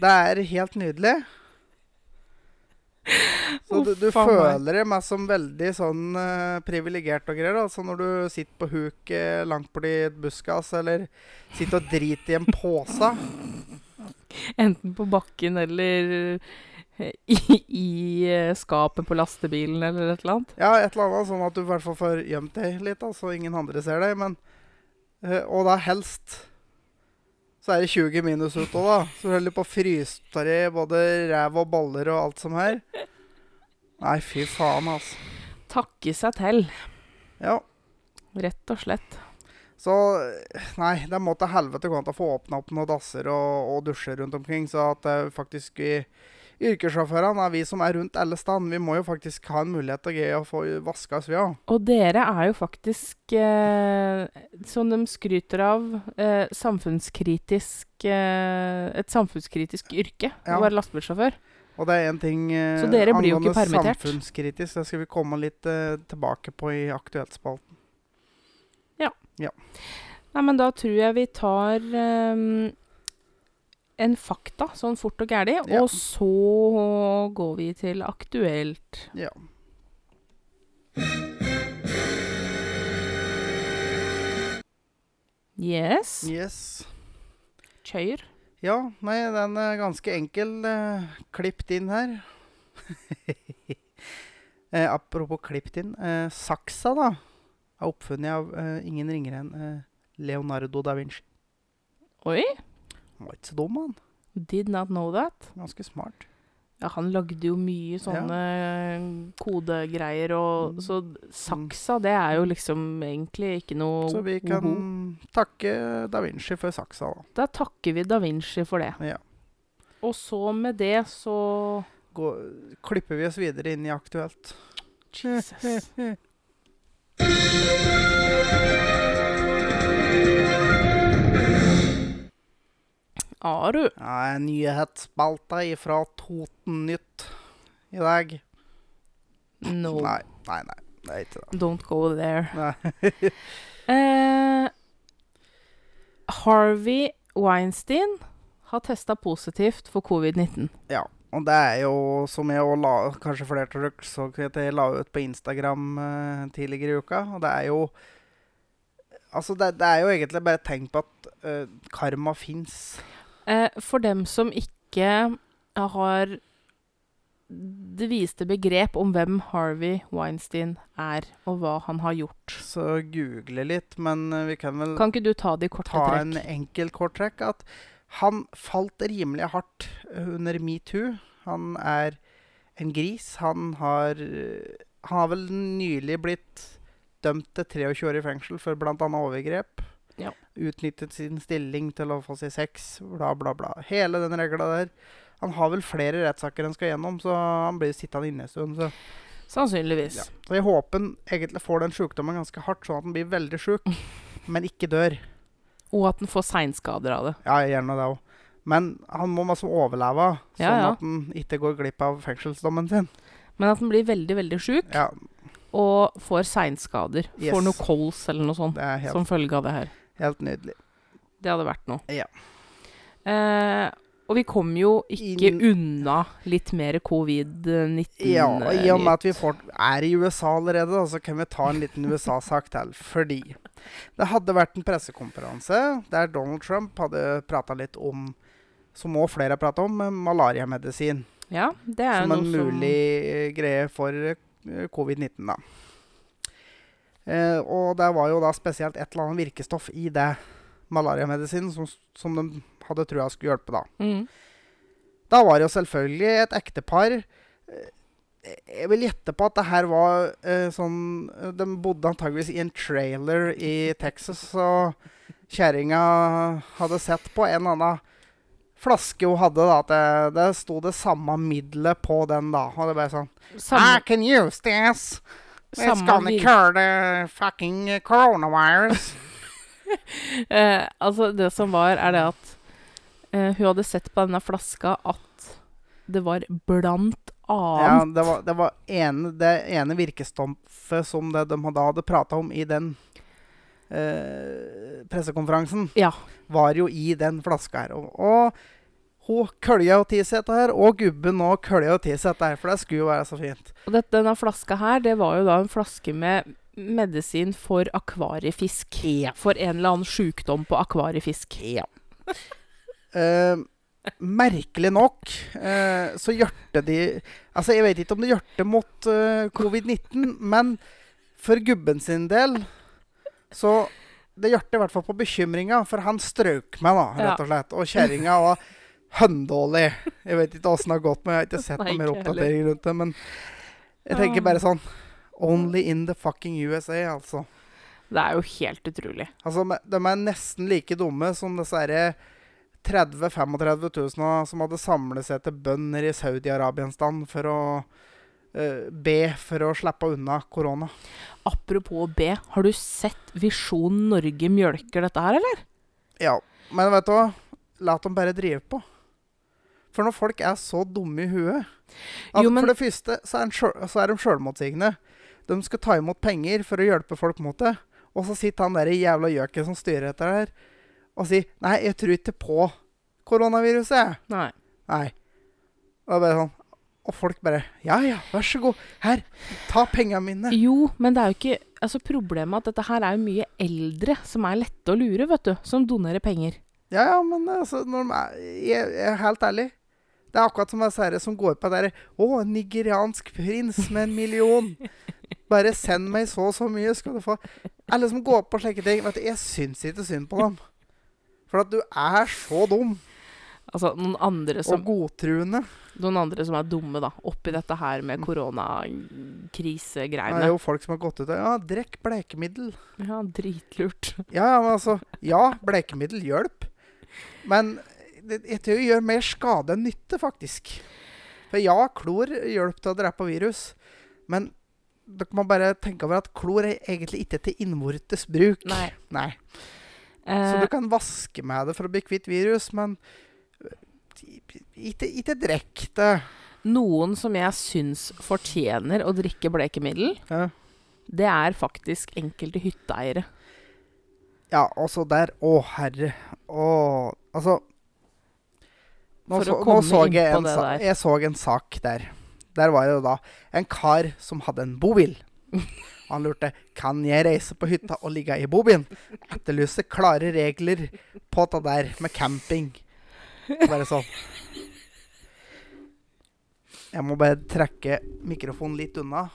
Det er helt nydelig. Så du, du Uff, faen meg. føler deg meg som veldig sånn eh, privilegert og greier. Altså når du sitter på huk eh, langt borti et buskas, eller sitter og driter i en pose. Enten på bakken eller eh, i, i eh, skapet på lastebilen eller et eller annet. Ja, et eller annet sånn at du i hvert fall får gjemt deg litt, da, så ingen andre ser deg. Men, eh, og da helst så er det 20 minus ute òg, da. Så du holder på å fryse av deg både ræv og baller og alt som er. Nei, fy faen, altså. Takke seg til, Ja, rett og slett. så Nei, det må til helvete gå an å få åpna opp noen dasser og, og dusjer rundt omkring, så at eh, faktisk vi yrkessjåførene er vi som er rundt alle stand. Vi må jo faktisk ha en mulighet til å greie å få vaska oss, vi òg. Og dere er jo faktisk, eh, som de skryter av, eh, samfunnskritisk eh, Et samfunnskritisk yrke Ja. å være lastebilsjåfør. Og det er en ting eh, Så dere blir jo ikke angående permittert. samfunnskritisk. Det skal vi komme litt eh, tilbake på i Aktuelt-spalten. Nei, men da tror jeg vi tar eh, en fakta sånn fort og gæli, Ja. og så går vi til aktuelt. Ja. Yes. Yes. Kjør. Ja, nei, den er ganske enkel. Uh, klippet inn her. eh, apropos klippet inn. Eh, saksa, da, er oppfunnet av eh, ingen ringere enn eh, Leonardo da Vinci. Oi. Han var ikke så dum, han. Did not know that. Ganske smart. Ja, han lagde jo mye sånne ehm, kodegreier, og Mm. så saksa, det er jo liksom egentlig ikke noe Så vi kan oho. takke da Vinci for saksa, da. Da takker vi da Vinci for det. Ja. Og så med det så Gå, klipper vi oss videre inn i Aktuelt. Jesus. Har du? Ja, en nyhetsspalta ifra Totennytt i dag. No. Nei, nei, nei. Det er ikke det. Don't go there. Nei. Eh, Harvey Weinstein har testa positivt for covid-19. Ja. Og det er jo, som jeg også la Kanskje flere av dere så at jeg la ut på Instagram eh, tidligere i uka. Og det er jo Altså, det, det er jo egentlig bare et tegn på at eh, karma fins. Eh, for dem som ikke har det viste begrep om hvem Harvey Weinstein er, og hva han har gjort. Så google litt, men eh, vi kan vel Kan ikke du ta det i korte ta en trekk? enkel kort trekk at han falt rimelig hardt eh, under metoo. Han er en gris. Han har eh, Han har vel nylig blitt dømt til 23 år i fengsel for bl.a. overgrep. Ja. Utnyttet sin stilling til å få seg sex, bla, bla, bla. Hele den regla der. Han har vel flere rettssaker han skal gjennom, så han blir sittende inne en stund. Så Sannsynligvis. ja. Så jeg håper han egentlig får den sjukdommen ganske hardt, sånn at han blir veldig sjuk, men ikke dør. Og at han får seinskader av det. Ja, gjerne det òg. Men han må masse overleve, sånn Ja, ja. at han ikke går glipp av fengselsdommen sin. Men at han blir veldig, veldig sjuk Ja, og får seinskader. Yes. Får noe kols eller noe sånt Det er helt, som følge av det her. helt nydelig. Det hadde vært noe. Ja. Eh, og vi kom jo ikke Inn- unna litt mer eh, covid-19. Ja, og I og med nytt. at vi får, er i USA allerede, da, så kan vi ta en liten USA-sak til. Fordi det hadde vært en pressekonferanse der Donald Trump hadde prata litt om, som òg flere har prata om, eh, malariamedisin. Ja, det er jo som noe en mulig eh, greie for eh, covid-19, da. Eh, og det var jo da spesielt et eller annet virkestoff i det malariamedisinen som, som de hadde trua skulle hjelpe, da. som mm. Da var det jo selvfølgelig et ektepar eh, Jeg vil gjette på at det her var eh, sånn eh, De bodde antageligvis i en trailer i Texas, og kjerringa hadde sett på en eller annen flaske hun hadde, da, at det, det sto det samme middelet på den, da. Og det ble sånn I Samme, can use this. It's samme gonna vir- cure the fucking coronavirus. eh, Altså, det som var, er det at eh, hun hadde sett på denne flaska at det var blant Ja, annet det var, det, var ene, det ene virkestoffet som det de da hadde prata om i den eh, pressekonferansen, Ja. var jo i den flaska her. Og, og hun kølja jo til seg dette her, og gubben nå kølja jo til seg dette her, for det skulle jo være så fint. Og dette- denne flaska her, det var jo da en flaske med medisin for akvariefisk. For en eller annen sjukdom på akvariefisk. Eh, merkelig nok eh, så hjørte de Altså, jeg vet ikke om det hjørte mot eh, covid-19, men for gubben sin del så Det hjørte i hvert fall på bekymringa, for han strøk meg, da, rett og slett. Og kjerringa var høndålig. Jeg vet ikke åssen det har gått, men jeg har ikke sett Nei, noe mer ikke heller. Ah. oppdatering rundt det. Men jeg tenker bare sånn Only in the fucking USA, altså. Det er jo helt utrolig. Altså, me- De er nesten like dumme som disse herre 30 000-35 000 som hadde samlet seg til bønder i Saudi-Arabiens stand for å eh, be for å slippe unna korona. Apropos B, har du sett Visjon Norge mjølker dette her, eller? Ja, men vet du hva? La dem bare drive på. For når folk er så dumme i huet at Jo, men- For det første så er, en sjøl- så er de sjølmotsigende. De skal ta imot penger for å hjelpe folk mot det. Og så sitter han der i jævla gjøken som styrer etter det her, og sier 'Nei, jeg tror ikke på koronaviruset', jeg'. Nei. Nei. Og, det er bare sånn, og folk bare Ja ja, vær så god. Her, ta penga mine. Jo, men det er jo ikke Altså, problemet er at dette her er jo mye eldre som er lette å lure, vet du. Som donerer penger. Ja ja, men altså, når de er, jeg, jeg er helt ærlig. Det er akkurat som disse her som går på der Å, en nigeriansk prins med en million. Bare send meg så og så mye, skal du få. Alle som går på slike ting. Vet du, jeg syns ikke synd på dem. For at du er så dum. Altså noen andre som Og godtruende Noen andre som er dumme, da, oppi dette her med Mm. er koronakrisegreiene. jo folk som har gått ut og Ja, drekk blekemiddel. Ja, dritlurt. Ja, ja, men altså Ja, blekemiddel hjelp. Men det, jeg tror det gjør mer skade enn nytte, faktisk. For ja, klor hjelper til å drepe virus. Men dere må bare tenke over at klor er egentlig ikke til innvortes bruk. Nei. Nei. Så Eh, du kan vaske med det for å bli kvitt virus, men ikke, ikke drekk det. noen som jeg syns fortjener å drikke blekemiddel, Ja. det er faktisk enkelte hytteeiere. Ja, altså der Å, herre. Å Altså Nå, For så, å nå komme så inn jeg, på en det sa, der. jeg så en sak der. Der var det jo da en kar som hadde en bobil. Han lurte kan jeg reise på hytta og ligge i bobilen. Etterlyser klare regler på det der med camping. Bare sånn. Jeg må bare trekke mikrofonen litt unna.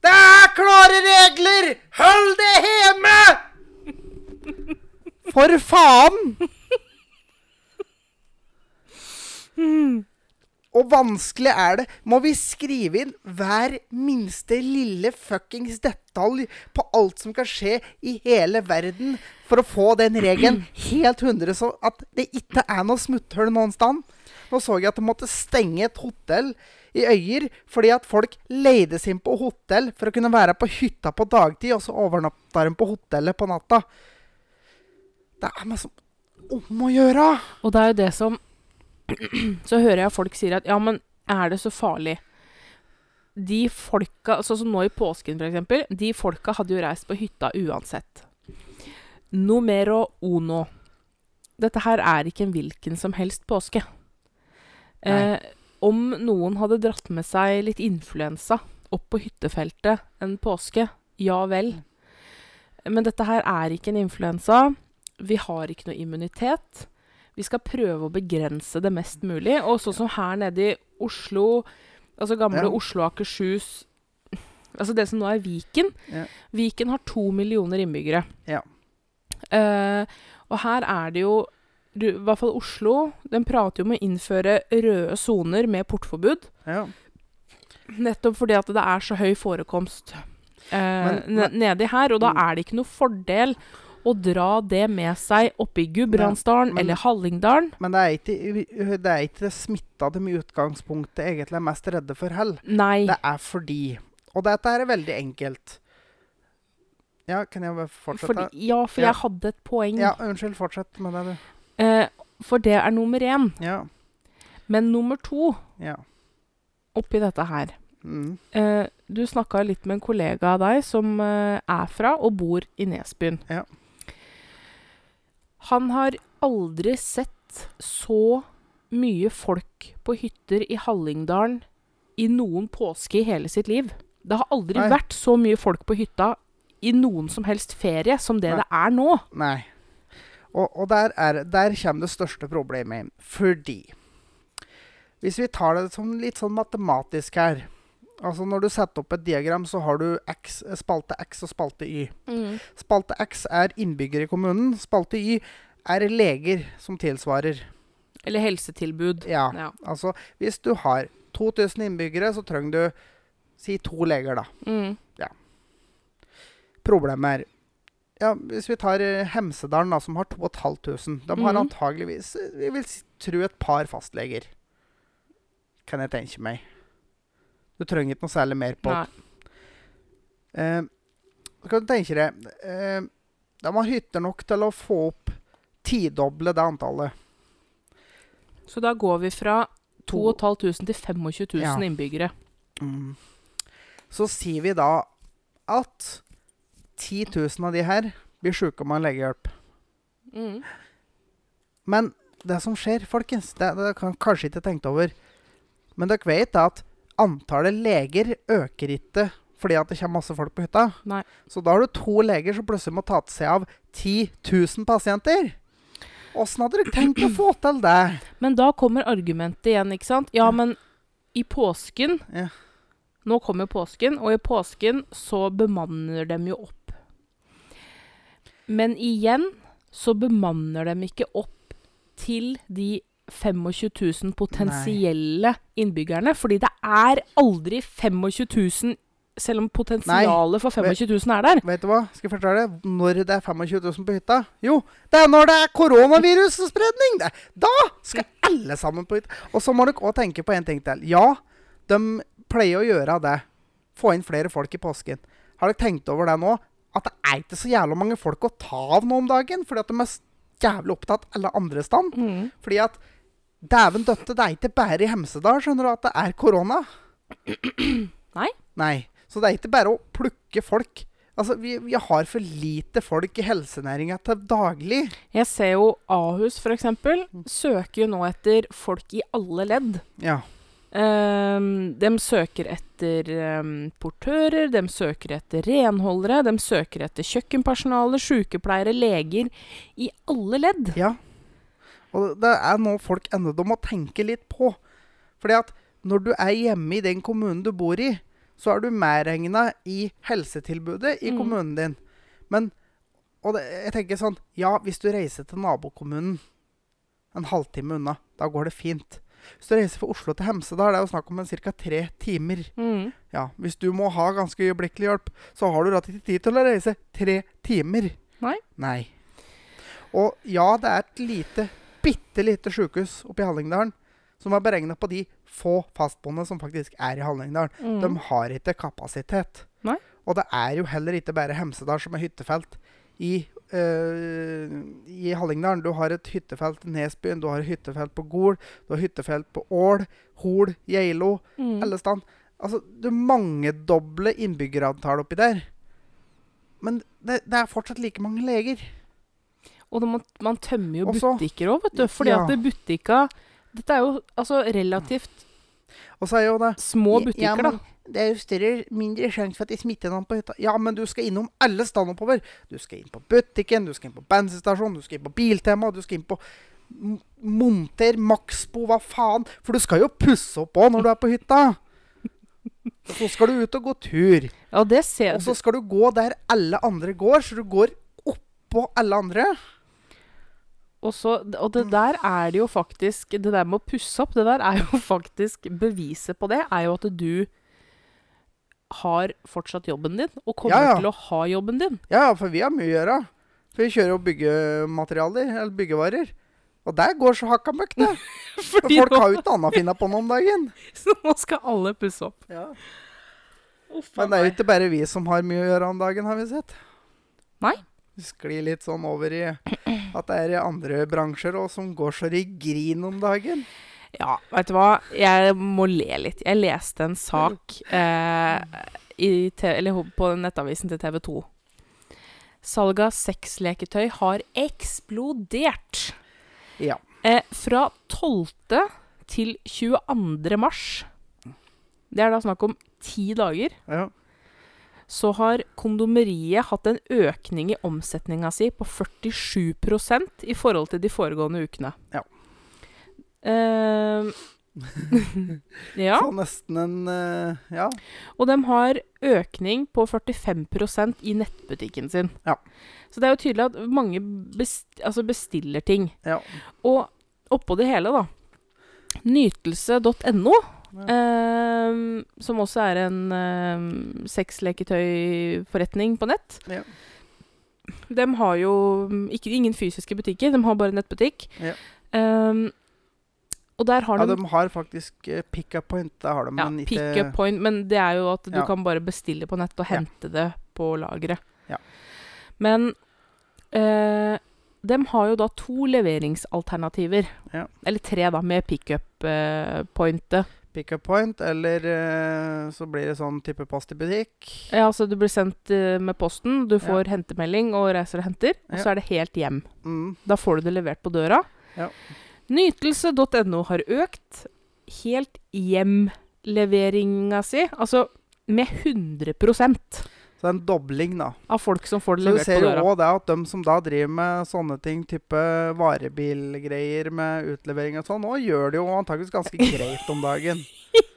Det er klare regler! Hold det hjemme! For faen! Og vanskelig er det. Må vi skrive inn hver minste lille fuckings detalj på alt som kan skje i hele verden, for å få den regelen helt hundre, så at det ikke er noe smutthull noen sted? Nå så jeg at de måtte stenge et hotell i Øyer fordi at folk leide seg inn på hotell for å kunne være på hytta på dagtid, og så overnatta de på hotellet på natta. Det er meg som om å gjøre! Og det er jo det som Så hører jeg folk sier at ja, men er det så farlig? De folka, sånn som nå i påsken f.eks., de folka hadde jo reist på hytta uansett. Numero uno. Dette her er ikke en hvilken som helst påske. Eh, Nei. om noen hadde dratt med seg litt influensa opp på hyttefeltet en påske, ja vel. Mm. Men dette her er ikke en influensa. Vi har ikke noe immunitet. Vi skal prøve å begrense det mest mulig. Og sånn som her nede i Oslo, altså gamle Ja. Oslo og Akershus Altså det som nå er Viken. Ja. Viken har to millioner innbyggere. Ja. Eh, og her er det jo du, I hvert fall Oslo. Den prater jo om å innføre røde soner med portforbud. Ja. Nettopp fordi at det er så høy forekomst eh, Men- ne- nedi her, og da Mm. er det ikke noe fordel å dra det med seg oppe i Gudbrandsdalen Men- eller Hallingdalen. Men det er ikke det, er ikke det smitta de i utgangspunktet egentlig er mest redde for heller. Nei. Det er fordi Og dette her er veldig enkelt. Ja, kan jeg bare fortsette? Fordi, ja, for Ja. jeg hadde et poeng. Ja, unnskyld. Fortsett med det, du. Eh, for det er nummer én. Ja. Men nummer to ja. oppi dette her Mm. eh, Du snakka litt med en kollega av deg som eh, er fra og bor i Nesbyen. Ja. Han har aldri sett så mye folk på hytter i Hallingdalen i noen påske i hele sitt liv. Det har aldri Nei. vært så mye folk på hytta i noen som helst ferie som det Nei. det er nå. Nei. Og, og der, er, der kommer det største problemet inn. Fordi Hvis vi tar det som litt sånn matematisk her Altså Når du setter opp et diagram, så har du X, spalte X og spalte Y. Spalte X er innbyggere i kommunen. Spalte Y er leger som tilsvarer. Eller helsetilbud. Ja, Ja. altså Hvis du har 2000 innbyggere, så trenger du si to leger, da. Mm. Problemet er ja, Hvis vi tar eh, Hemsedalen, da, som har 2500 De har Mhm. antageligvis eh, vi vil si- tro et par fastleger. Kan jeg tenke meg. Du trenger ikke noe særlig mer på Nei. Eh, så kan du tenke deg eh, De har hytter nok til å få opp tidoble det antallet. Så da går vi fra 2500 til 25 000 Ja. innbyggere. Mm. Så sier vi da at 10 000 av de her blir sjuke med legehjelp. Men det som skjer, folkens, det, det kan kanskje ikke tenkt over. Men dere vet da at antallet leger øker ikke fordi at det kommer masse folk på hytta. Nei. Så da har du to leger som plutselig må ta til seg av 10 000 pasienter. Åssen hadde dere tenkt å få til det? Men da kommer argumentet igjen, ikke sant? Ja, men i påsken Ja. Nå kommer påsken, og i påsken så bemanner de jo opp. Men igjen så bemanner de ikke opp til de 25 000 potensielle innbyggerne. Fordi det er aldri 25 000, selv om potensialet for 25 000 er der. Vet du hva? Skal jeg fortelle deg når det er 25 000 på hytta? Jo, det er når det er koronavirusspredning! Det- Da skal alle sammen på hytta. Og så må dere òg tenke på en ting til. Ja, de pleier å gjøre det. Få inn flere folk i påsken. Har dere tenkt over det nå? At det er ikke så jævla mange folk å ta av nå om dagen, fordi at de er s- jævlig opptatt alle andre stand. Mm. Fordi at Dæven døtte, det er ikke bare i Hemsedal, skjønner du, at det er korona. Nei. Nei. Så det er ikke bare å plukke folk. Altså, vi, vi har for lite folk i helsenæringa til daglig. Jeg ser jo Ahus, f.eks., Mm. søker jo nå etter folk i alle ledd. Ja. Ehm, de søker etter ehm, portører, de søker etter renholdere, de søker etter kjøkkenpersonale, sykepleiere, leger I alle ledd. ja. Og det er nå folk ennå de må tenke litt på. Fordi at når du er hjemme i den kommunen du bor i, så er du medregna i helsetilbudet i Mm. kommunen din. Men Og det, jeg tenker sånn Ja, hvis du reiser til nabokommunen en halvtime unna, da går det fint. Hvis du reiser fra Oslo til Hemsedal, det er jo snakk om ca. tre timer. Mm. Ja, Hvis du må ha ganske øyeblikkelig hjelp, så har du rett ikke tid til å reise tre timer. Nei. Nei. Og ja, det er et lite, bitte lite sjukehus oppe i Hallingdalen som er beregna på de få fastboende som faktisk er i Hallingdalen. Mm. De har ikke kapasitet. Nei. Og det er jo heller ikke bare Hemsedal som er hyttefelt i, eh, i Hallingdalen. Du har et hyttefelt i Nesbyen, du har et hyttefelt på Gol, du har hyttefelt på Ål, Hol, Geilo Mm. alle stand. Altså, du mangedoble innbyggerantall oppi der. Men det, det er fortsatt like mange leger. Og da må, man tømmer jo Også- butikker òg, vet du. Fordi Ja. at det butikka Dette er jo altså relativt Og så er jo det små Ja, butikker, men da. Det er jo større, mindre sjanse for at de smitter noen på hytta. Ja, men du skal innom alle stand oppover. Du skal inn på butikken, du skal inn på bensinstasjonen, du skal inn på Biltema, du skal inn på M- Monter, Maxbo, hva faen. For du skal jo pusse opp òg når du er på hytta. Og så skal du ut og gå tur. Ja, det ser Og så skal du gå der alle andre går, så du går oppå alle andre. Og, så, og det der er det jo faktisk Det der med å pusse opp, det der er jo faktisk Beviset på det er jo at du har fortsatt jobben din, og kommer Ja, ja. til å ha jobben din. Ja, ja, for vi har mye å gjøre. For vi kjører jo byggematerialer, eller byggevarer. Og der går så hakka møkk, det. For Fordi folk nå, har jo ikke annet å finne på nå om dagen. så nå skal alle pusse opp. Men det er jo ikke bare vi som har mye å gjøre om dagen, har vi sett. Nei. Vi sklir litt sånn over i at det er i andre bransjer òg som går så de grin om dagen. Ja, vet du hva? Jeg må le litt. Jeg leste en sak eh, i te eller ho- på nettavisen til TV 2. Salget av sexleketøy har eksplodert. Ja. Eh, fra 12. til 22. mars, det er da snakk om ti dager, ja. så har kondomeriet hatt en økning i omsetninga si på 47 i forhold til de foregående ukene. Ja. Eh, ja. Så nesten en eh, Ja. Og de har økning på 45 i nettbutikken sin. Ja. Så det er jo tydelig at mange best, altså bestiller ting. ja. Og oppå det hele, da Nytelse.no, Ja. Eh, ehm, som også er en um, sexleketøyforretning på nett. Ja. De har jo mm, ikke, ingen fysiske butikker, de har bare nettbutikk. Ja. Ehm, og der har ja de de har faktisk eh, pick up point. Det har de, ja, men pick ikke up point, men det er jo at du Ja. kan bare bestille på nett og Ja. hente det på lageret. Ja. Men eh, de har jo da to leveringsalternativer. Ja. Eller tre, da, med eh, pickup-pointet. pick up point, eller eh, så blir det sånn type post i butikk. ja, altså du blir sendt eh, med posten, du Ja. får hentemelding og reiser og henter, og Ja. så er det helt hjem. Mm. Da får du det levert på døra. Ja. Nytelse.no har økt helt hjem-leveringa si, altså med 100 Så det er en dobling, da. av folk som får det Så du levert på ser jo døra. òg det at de som da driver med sånne ting, type varebilgreier med utlevering og sånn, nå gjør det jo antakeligvis ganske greit om dagen.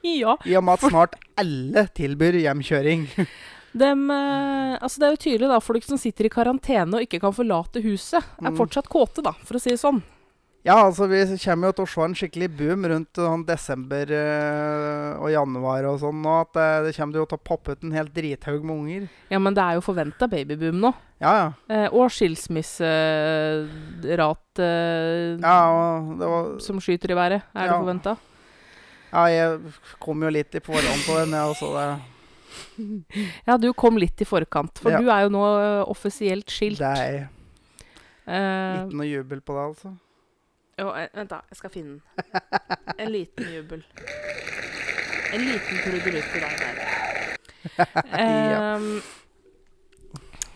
Ja, I og med at snart alle tilbyr hjemkjøring. dem, eh, altså Det er jo tydelig da, folk som sitter i karantene og ikke kan forlate huset, er Mm. fortsatt kåte, da, for å si det sånn. Ja, altså vi kommer jo til å se en skikkelig boom rundt sånn desember eh, og januar og sånn nå. At eh, det kommer jo til å poppe ut en hel drithaug med unger. Ja, men det er jo forventa babyboom nå. Ja, ja. Eh, og skilsmisserat eh, Ja, og det var, som skyter i været, er det Ja. forventa. ja jeg kom jo litt i forhånd på den, jeg også. Det, Ja, du kom litt i forkant, for Ja. du er jo nå eh, offisielt skilt. det er Eh, ikke noe jubel på det, altså. jo, eh, vent, da. Jeg skal finne den. En liten jubel. En liten trudelutt til deg der. Ja. Ehm,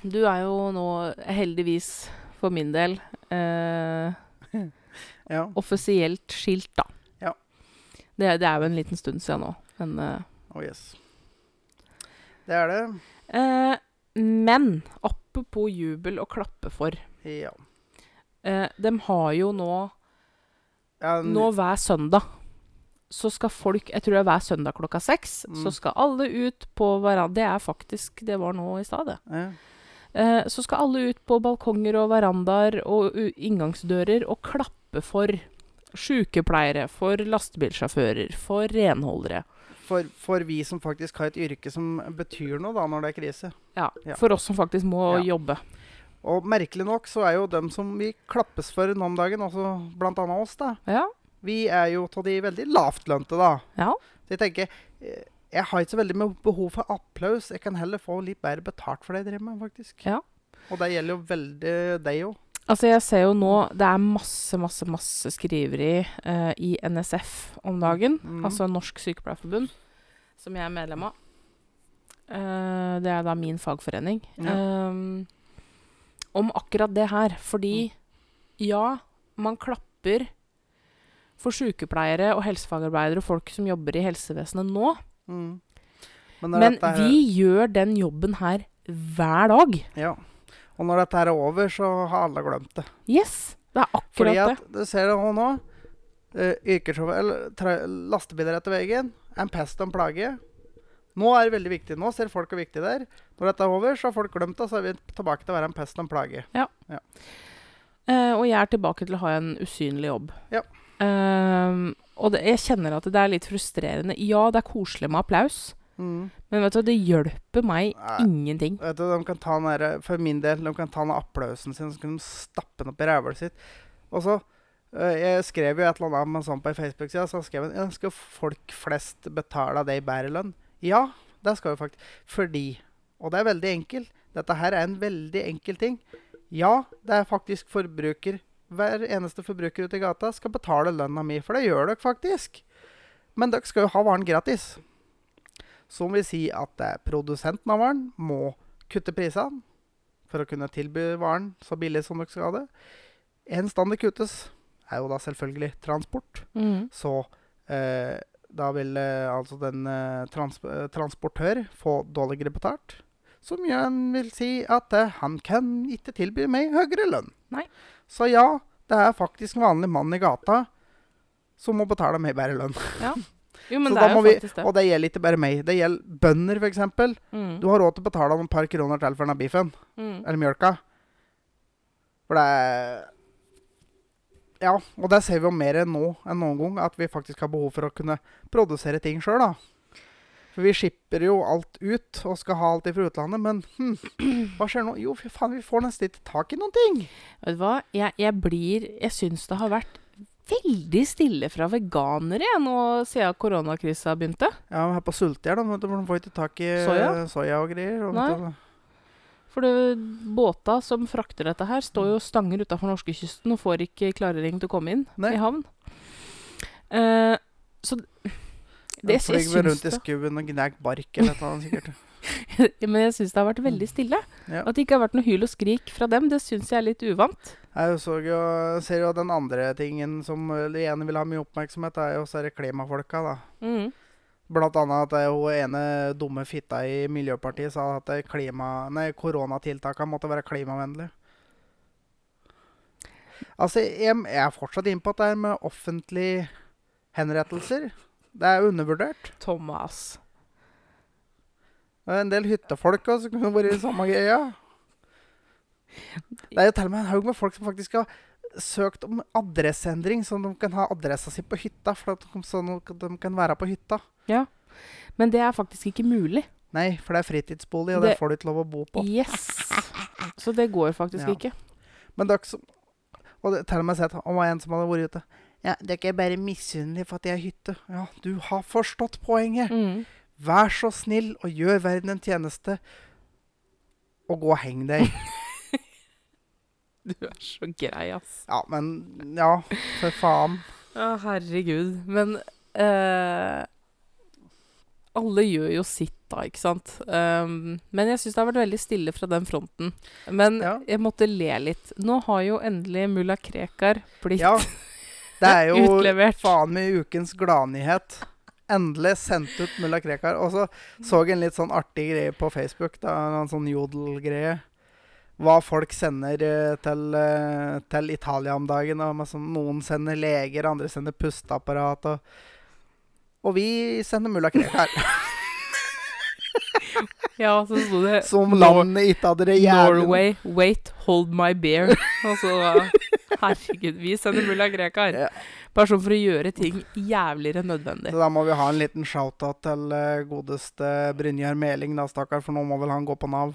du er jo nå, heldigvis for min del, eh, Ja. offisielt skilt, da. Ja. Det, det er jo en liten stund siden nå, men eh, Oh yes. Det er det. Eh, men apropos jubel og klappe for. Ja. Eh, de har jo nå Ja, n- Nå hver søndag så skal folk Jeg tror det er hver søndag klokka seks. Mm. Så skal alle ut på hverandre Det er faktisk Det var nå i stad, det. ja. Eh, så skal alle ut på balkonger og verandaer og u inngangsdører og klappe for sykepleiere, for lastebilsjåfører, for renholdere. For, for vi som faktisk har et yrke som betyr noe da når det er krise. Ja, Ja. For oss som faktisk må Ja. jobbe. Og merkelig nok så er jo dem som vi klappes for nå om dagen, også blant annet oss, da. Ja. Vi er jo av de veldig lavtlønte, da. Ja. Så jeg tenker eh, Jeg har ikke så veldig med behov for applaus. Jeg kan heller få litt bedre betalt for det jeg driver med, faktisk. Ja. Og det gjelder jo veldig deg òg. Altså, jeg ser jo nå Det er masse, masse, masse skriveri eh, i NSF om dagen. Mm. Altså Norsk Sykepleierforbund, som jeg er medlem av. Eh, det er da min fagforening. Eh, om akkurat det her. Mm. Fordi ja, man klapper for sykepleiere og helsefagarbeidere og folk som jobber i helsevesenet nå. Mm. når Men dette her- vi gjør den jobben her hver dag. Ja. Og når dette her er over, så har alle glemt det. Yes! Det er Fordi akkurat det. at, du ser det nå, nå eh, yrkessjåfør- eller tra- lastebiler etter veien, en pest og en plage. Nå er det veldig viktig. Nå ser folk hvor viktig det er. Når dette er over, så har folk glemt det, så er vi tilbake til å være en pest og en plage. Eh, og jeg er tilbake til å ha en usynlig jobb. Ja. Ehm, og det, jeg kjenner at det er litt frustrerende. Ja, det er koselig med applaus, Mm. men vet du, det hjelper meg Nei. ingenting. Vet du, de kan ta den der, for min del, de kan ta den applausen sin, så kan de stappe den opp i rævhølet sitt. Og så, øh, jeg skrev jo et eller annet med sånn på Facebook-sida, så skrev jeg, «Ja, skal folk flest betale det i bedre lønn? Ja, det skal jo faktisk. Fordi, og det er veldig enkelt, dette her er en veldig enkel ting. Ja, det er faktisk forbruker. Hver eneste forbruker ute i gata skal betale lønna mi, for det gjør dere faktisk. Men dere skal jo ha varen gratis. Som vil si at eh, produsenten av varen må kutte prisene for å kunne tilby varen så billig som dere skal ha det. En stand det kuttes, er jo da selvfølgelig transport. Mm. Så eh, da vil eh, altså den eh, trans eh, transportør få dårligere betalt. Som igjen vil si at eh, han kan ikke tilby meg høyere lønn. Nei. Så ja, det er faktisk en vanlig mann i gata som må betale meg bedre lønn. Jo, men Så det da er må jo vi- faktisk det. Og det gjelder ikke bare meg. Det gjelder bønder, f.eks. Mm. Du har råd til å betale noen par kroner til for denne biffen. Mm. Eller mjølka. For det er Ja, og der ser vi jo mer enn nå enn noen gang at vi faktisk har behov for å kunne produsere ting sjøl, da. For vi shipper jo alt ut og skal ha alt fra utlandet, men hm, hva skjer nå? Jo, fy faen, vi får nesten ikke tak i noen ting. Vet du hva, jeg, jeg blir Jeg syns det har vært veldig stille fra veganere jeg, nå siden koronakrisa begynte. Ja, men her på Sultjern, da, vet du, for de får ikke tak i Soya? eh, soya og greier. Og Nei. vet du, For det, båta som frakter dette her, står jo og stanger utafor norskekysten og får ikke klarering til å komme inn Nei. i havn. Eh, så d- de det, jeg, flyr syns rundt i det, skuen og gnager bark eller et eller annet sikkert. men jeg syns det har vært veldig stille. Ja. At det ikke har vært noe hyl og skrik fra dem, det syns jeg er litt uvant. Jeg så jo, ser jo den andre tingen som eh, det ene vil ha mye oppmerksomhet, er jo så er det klimafolka, da. Mm. Blant annet at eh, hun ene dumme fitta i Miljøpartiet sa at eh, klima, nei, koronatiltakene måtte være klimavennlige. Altså, jeg, jeg er fortsatt inne på at det er med offentlige henrettelser. Det er undervurdert. Thomas. Det er en del hyttefolk også, som kunne vært i samme greia. Det er jo til og med en haug med folk som faktisk skal søkt om adresseendring, sånn at de kan ha adressa si på hytta. For at de, sånn at de kan være på hytta. Men det er faktisk ikke mulig. Nei, for det er fritidsbolig, og det, Det- får du ikke lov å bo på. Yes! Så det går faktisk Ja. ikke. Men dere som Og det, til og med sett om det var en som hadde vært ute. Ja, dere er bare misunnelige for at jeg har hytte. Ja, du har forstått poenget. Mm. Vær så snill og gjør verden en tjeneste. Og gå og heng deg. Du er så grei, ass. Ja, men Ja, for faen. Å, herregud. Men eh, alle gjør jo sitt, da, ikke sant? Um, men jeg syns det har vært veldig stille fra den fronten. Men Ja. jeg måtte le litt. Nå har jo endelig mulla Krekar blitt Ja. Det er jo utlevert. faen meg ukens gladnyhet. Endelig sendt ut mulla Krekar. Og så så jeg en litt sånn artig greie på Facebook. Da, en sånn jodelgreie. Hva folk sender eh, til, eh, til Italia om dagen. Og med sånn, noen sender leger, andre sender pusteapparat. Og, og vi sender mulla Krekar. Ja, så sto det Som Nor- landet ikke hadde det jævlig Norway, wait, hold my beer. Altså, herregud, vi sender mulla Krekar. Ja. Bare sånn for å gjøre ting jævligere enn nødvendig. Så da må vi ha en liten shout-out til eh, godeste Brynjar Meling, da, stakkar. For nå må vel han gå på Nav.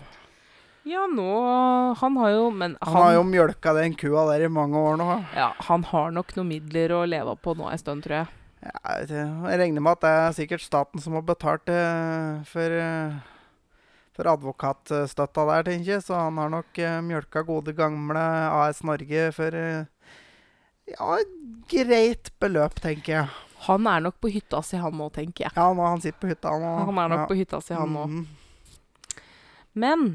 Ja, nå Han har jo Men Han, har jo mjølka den kua der i mange år nå. Ja, han har nok noen midler å leve på nå en stund, tror jeg. Ja, Jeg vet ikke. Jeg regner med at det er sikkert staten som har betalt eh, for, eh, for advokatstøtta der, tenker jeg. Så han har nok eh, mjølka gode gamle AS Norge for eh, ja, et greit beløp, tenker jeg. Han er nok på hytta si, han nå, tenker jeg. Ja, nå han sitter på hytta nå. Han er nok på hytta si, han Mm. nå. Men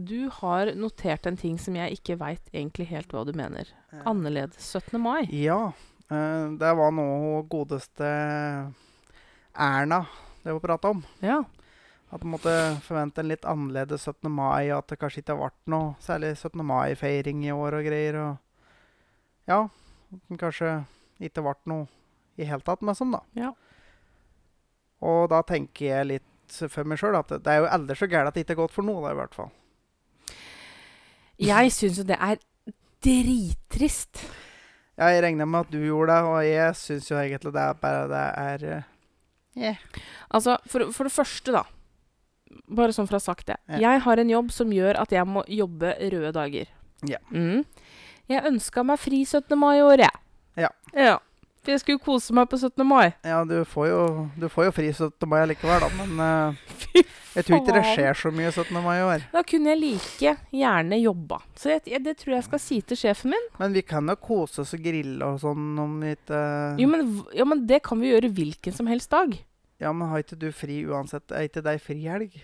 du har notert en ting som jeg ikke veit egentlig helt hva du mener. Annerledes 17. mai. Mm. Ja. eh, Det var noe hun godeste Erna det var prata om. Ja. At man måtte forvente en litt annerledes 17. mai, og at det kanskje ikke ble noe særlig 17. mai-feiring i år og greier. Og ja, at den kanskje ikke ble noe i hele tatt, med som da. Ja. Og da tenker jeg litt for meg sjøl at det det er jo aldri så gærent at det ikke er godt for noe, da, i hvert fall. Jeg syns jo det er drittrist. Jeg regner med at du gjorde det, og jeg syns jo egentlig det er bare det er eh, Altså, for, for det første, da. Bare sånn for å ha sagt det. Ja. Jeg har en jobb som gjør at jeg må jobbe røde dager. Ja. Mm. Jeg ønska meg fri 17. mai i år, jeg. Ja. For jeg skulle kose meg på 17. mai. Ja, du får jo, du får jo fri 17. mai likevel, da, men eh, Fy jeg tror ikke det faen. skjer så mye 17. mai i år. Da kunne jeg like gjerne jobba. Så jeg, jeg, det tror jeg skal si til sjefen min. Men vi kan jo kose oss og grille og sånn om vi ikke Jo, men, v- ja, men det kan vi gjøre hvilken som helst dag. Ja, men har ikke du fri uansett? Er ikke deg fri helg?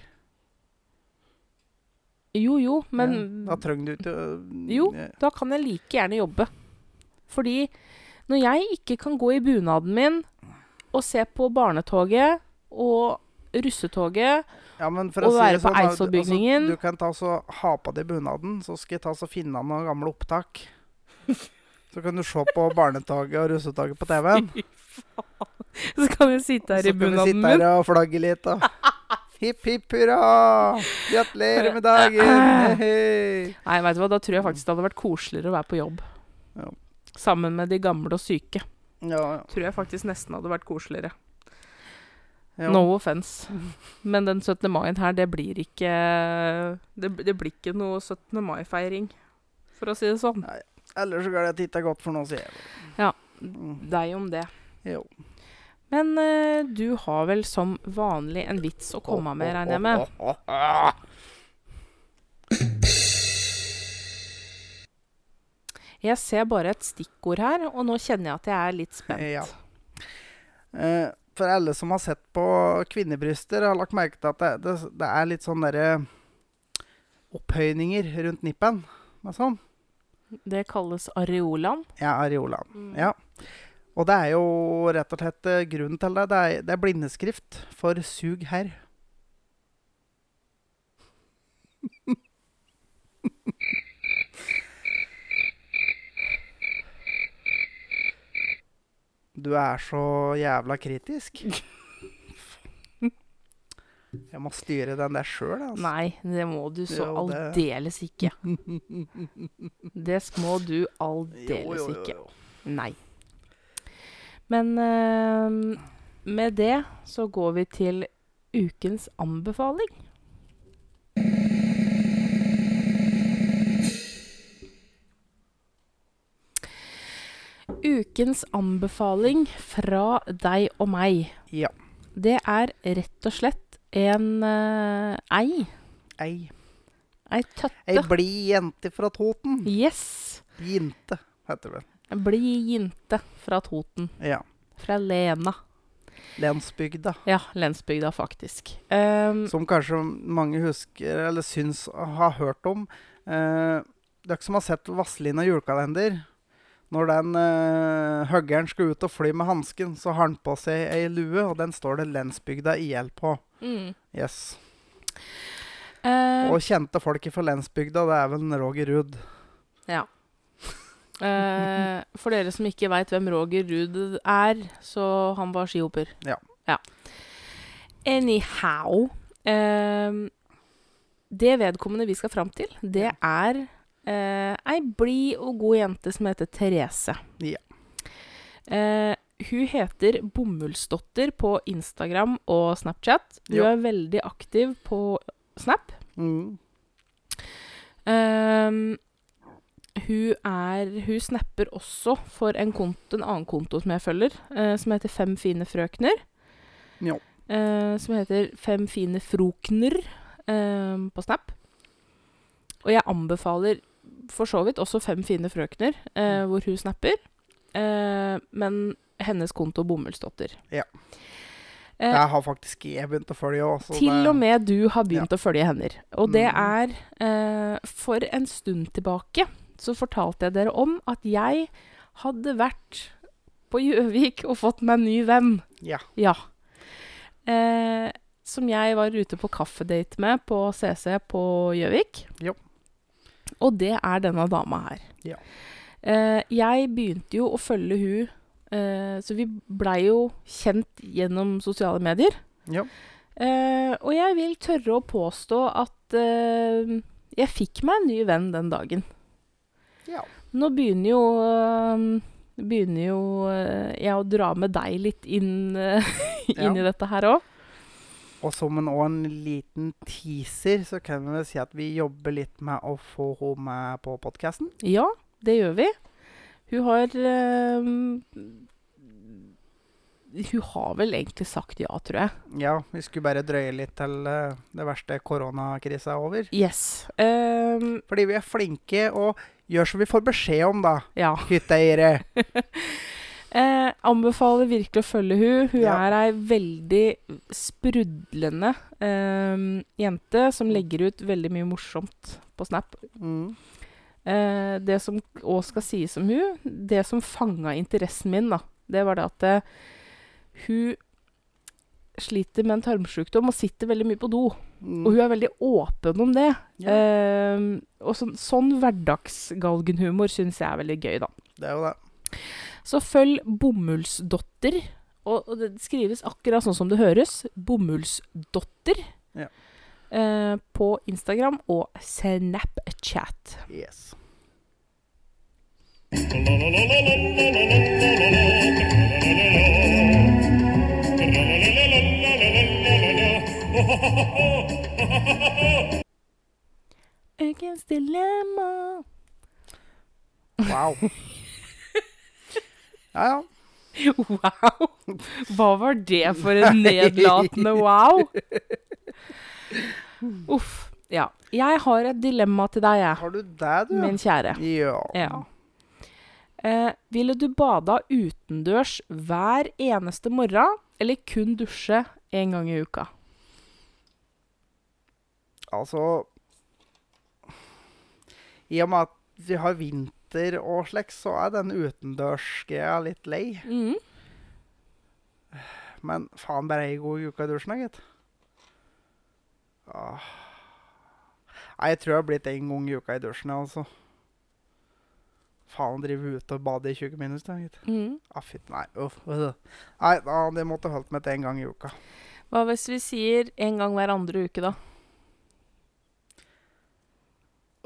Jo, jo, men ja, Da trenger du ikke å- Jo. Ja. Da kan jeg like gjerne jobbe. Fordi når jeg ikke kan gå i bunaden min og se på barnetoget og russetoget Ja, men for Å å, si være det på sånn, da, du- Eidsvollbygningen. Altså, du kan ta så ha på deg bunaden, så skal jeg ta så finne noen gamle opptak. Så kan du se på barnetoget og russetoget på TV-en. Så kan jeg sitte her i Så kan vi bunaden sitte her min. og flagge litt. Og. Hipp, hipp hurra! Gratulerer med dagen! Hei, hei. Nei, vet du hva, da tror jeg faktisk det hadde vært koseligere å være på jobb. Ja. Sammen med de gamle og syke. Ja, Tror jeg faktisk nesten hadde vært koseligere. ja. No offence. Men den 17. maien her, det blir ikke Det, det blir ikke noe 17. mai-feiring, for å si det sånn. Ellers så går det titta godt for noe, sier jeg. Ja. Mm. Deg om det. Jo. Men eh, du har vel som vanlig en vits å komme med, regner jeg med. Jeg ser bare et stikkord her, og nå kjenner jeg at jeg er litt spent. Ja. Eh, for alle som har sett på kvinnebryster, har lagt merke til at det, det, det er litt sånn derre opphøyninger rundt nippen. og Sånn. Det kalles areolaen. Ja, areolaen. Ja. Og det er jo rett og slett eh, grunnen til det. Det er, det er blindeskrift for 'sug herr'. Du er så jævla kritisk. Jeg må styre den der sjøl, altså. Nei, det må du så Jo, det- aldeles ikke. Det må du Jo, aldeles jo, jo, ikke. jo. Nei. Men eh, med det så går vi til ukens anbefaling. Ukens anbefaling fra deg og meg. Ja. Det er rett og slett en eh, ei. Ei, Ei tøtte. ei blid jente fra Toten. Yes. Jinte, heter det. En blid jente fra Toten. Ja. Fra Lena. Lensbygda. Ja, lensbygda, faktisk. Ehm, Som kanskje mange husker, eller syns å ha hørt om. Eh, dere som har sett Vazelina julekalender. Når den eh, høggeren skal ut og fly med hansken, så har han på seg ei lue, og den står det 'Lensbygda IL' på. mm. Yes. Ehm, Og kjente folk fra lensbygda, det er vel Roger Ruud. ja. Ehm, for dere som ikke veit hvem Roger Ruud er, så han var skihopper. Ja. Anyhow ehm, Det vedkommende vi skal fram til, det er eh, ei blid og god jente som heter Therese. Ja. Eh, hun heter Bomullsdotter på Instagram og Snapchat. Hun Ja. er veldig aktiv på Snap. Mm. Ehm, hun, er, hun snapper også for en, konto, en annen konto som jeg følger, eh, som heter Fem fine frøkner. Jo. Eh, som heter Fem fine frokner ehm, på Snap. Og jeg anbefaler for så vidt også Fem fine frøkner, eh, Mm. hvor hun snapper. Eh, men hennes konto Bomullsdotter. Ja. Eh, Det har faktisk jeg begynt å følge òg. til og med du har begynt å følge hender. Og det Mm. er eh, For en stund tilbake så fortalte jeg dere om at jeg hadde vært på Gjøvik og fått meg en ny venn. Ja. Eh, som jeg var ute på kaffedate med på CC på Gjøvik. Jo. Og det er denne dama her. Ja. Eh, jeg begynte jo å følge hun eh, Så vi blei jo kjent gjennom sosiale medier. Jo. Eh, og jeg vil tørre å påstå at eh, jeg fikk meg en ny venn den dagen. Ja. Nå begynner jo, eh, begynner jo eh, jeg å dra med deg litt inn, eh, inn i dette her òg. Og som en, og en liten teaser, så kan vi vel si at vi jobber litt med å få henne med på podkasten. Ja, det gjør vi. Hun har eh, Hun har vel egentlig sagt ja, tror jeg. Ja, vi skulle bare drøye litt til eh, det verste koronakrisa er over. Yes. Eh, Fordi vi er flinke og gjør som vi får beskjed om, da, ja. hytteeiere. Eh, anbefaler virkelig å følge hun. Hun Ja. er ei veldig sprudlende eh, jente som legger ut veldig mye morsomt på Snap. Mm. Eh, det som òg skal sies om hun, det som fanga interessen min, da, det var det at eh, hun sliter med en tarmsjukdom og sitter veldig mye på do. Og Mm. hun er veldig åpen om det. Ja, Eh, og sånn, sånn hverdagsgalgenhumor syns jeg er veldig gøy, da. det er jo det. Så følg Bomullsdotter. Og og det skrives akkurat sånn som det høres. Bomullsdotter. Ja. Eh, på Instagram og Snapchat. Yes. Ukens dilemma. Wow. Ja, ja. Wow! Hva var det for en nedlatende wow? Uff. Ja. Jeg har et dilemma til deg, jeg, Har du det, du? min kjære. Ja. Ja. Eh, ville du bada utendørs hver eneste morgen, eller kun dusje én gang i uka? Altså I og med at vi har vinter og slik, så er den utendørsgreia litt lei. Mm, Men faen, bare ei god uke i dusjen, da, gitt. Åh. Nei, jeg tror jeg har blitt en gang i uka i dusjen, jeg, altså. Faen, drive ute og bade i 20 minus, da, gitt. Mhm. Ah, fytt, nei, uff. øh. Nei, da, det måtte holdt meg til en gang i uka. Hva hvis vi sier en gang hver andre uke, da?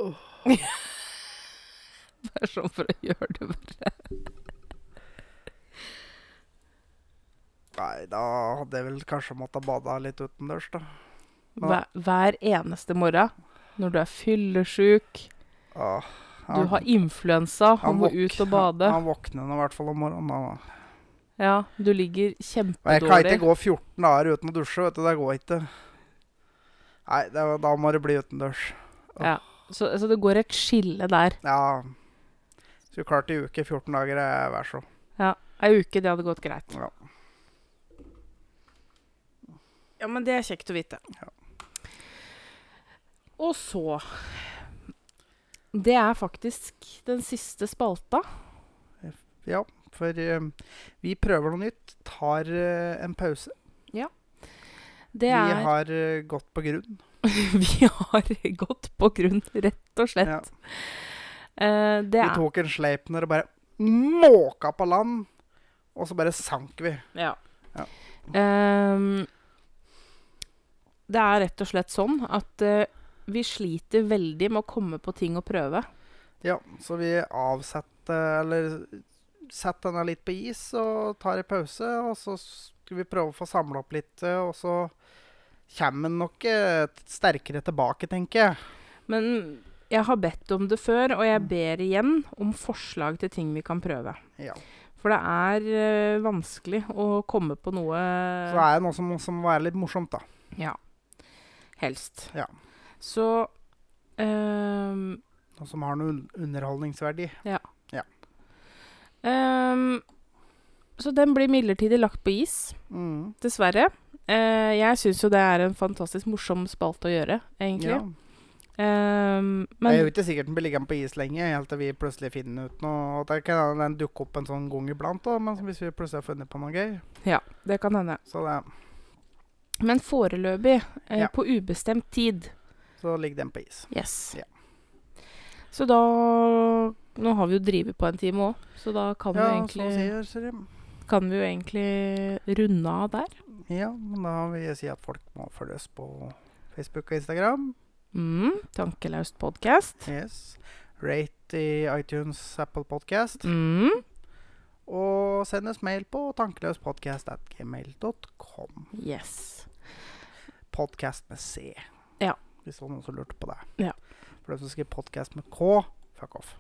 Bare sånn for å gjøre det verre. Nei, da hadde jeg vel kanskje måttet bade litt utendørs, da. Hver, hver eneste morgen når du er fyllesyk, Åh, du har influensa og Ah, han må våk- ut og bade. Han våkner nå i hvert fall om morgenen. da. Ja, du ligger Og jeg kan ikke kjempedårlig. gå 14 dager uten å dusje, vet du. Det går ikke. Nei, det, da må det bli utendørs. Så, så det går et skille der. Ja. Skulle klart i uke 14 dager, eh, vær så. Ja, Ei uke, det hadde gått greit. Ja. Ja, men det er kjekt å vite. Ja. Og så Det er faktisk den siste spalta. Ja, for eh, vi prøver noe nytt. Tar eh, en pause. Det Vi er har eh, gått på grunn. Vi har gått på grunn, rett og slett. Ja. Eh, det Vi er tok en sleipner og bare måka på land. Og så bare sank vi. Ja. Ja. Ehm, det er rett og slett sånn at eh, vi sliter veldig med å komme på ting å prøve. Ja, så vi avsetter Eller setter denne litt på is og tar en pause. Og så skal vi prøve å få samla opp litt, eh, og så kommer den nok eh, t- sterkere tilbake, tenker jeg. Men jeg har bedt om det før, og Mm. jeg ber igjen om forslag til ting vi kan prøve. Ja. For det er eh, vanskelig å komme på noe Så det er jo noe som, som må være litt morsomt, da. Ja. Helst. Ja. Så ehm, Noe som har noe un- underholdningsverdi. ehm, Så den blir midlertidig lagt på is. Mm. Dessverre. Eh, jeg syns jo det er en fantastisk morsom spalte å gjøre, egentlig. Ja. Eh, det er jo men ikke sikkert den blir liggende på is lenge, helt til vi plutselig finner ut noe. Og det kan hende den dukker opp en sånn gang iblant, da, men hvis vi plutselig har funnet på noe gøy. det kan hende. Så, det, Men foreløpig, eh, Ja. på ubestemt tid. så ligger den på is. Yes. Ja. Så da Nå har vi jo drevet på en time òg, så da kan, vi jo Ja, så egentlig, sier, sier de. kan vi jo egentlig runde av der. Ja, men da vil jeg si at folk må følge oss på Facebook og Instagram. Mm, tankelaust podkast. Yes. Rate i iTunes, Apple Podcast. Mm, Og send oss mail på tankeløspodcast.gmail.com. yes. Podcast med C. Ja. Hvis det var noen som lurte på det. Ja. For dem som skriver podcast med K, fuck off.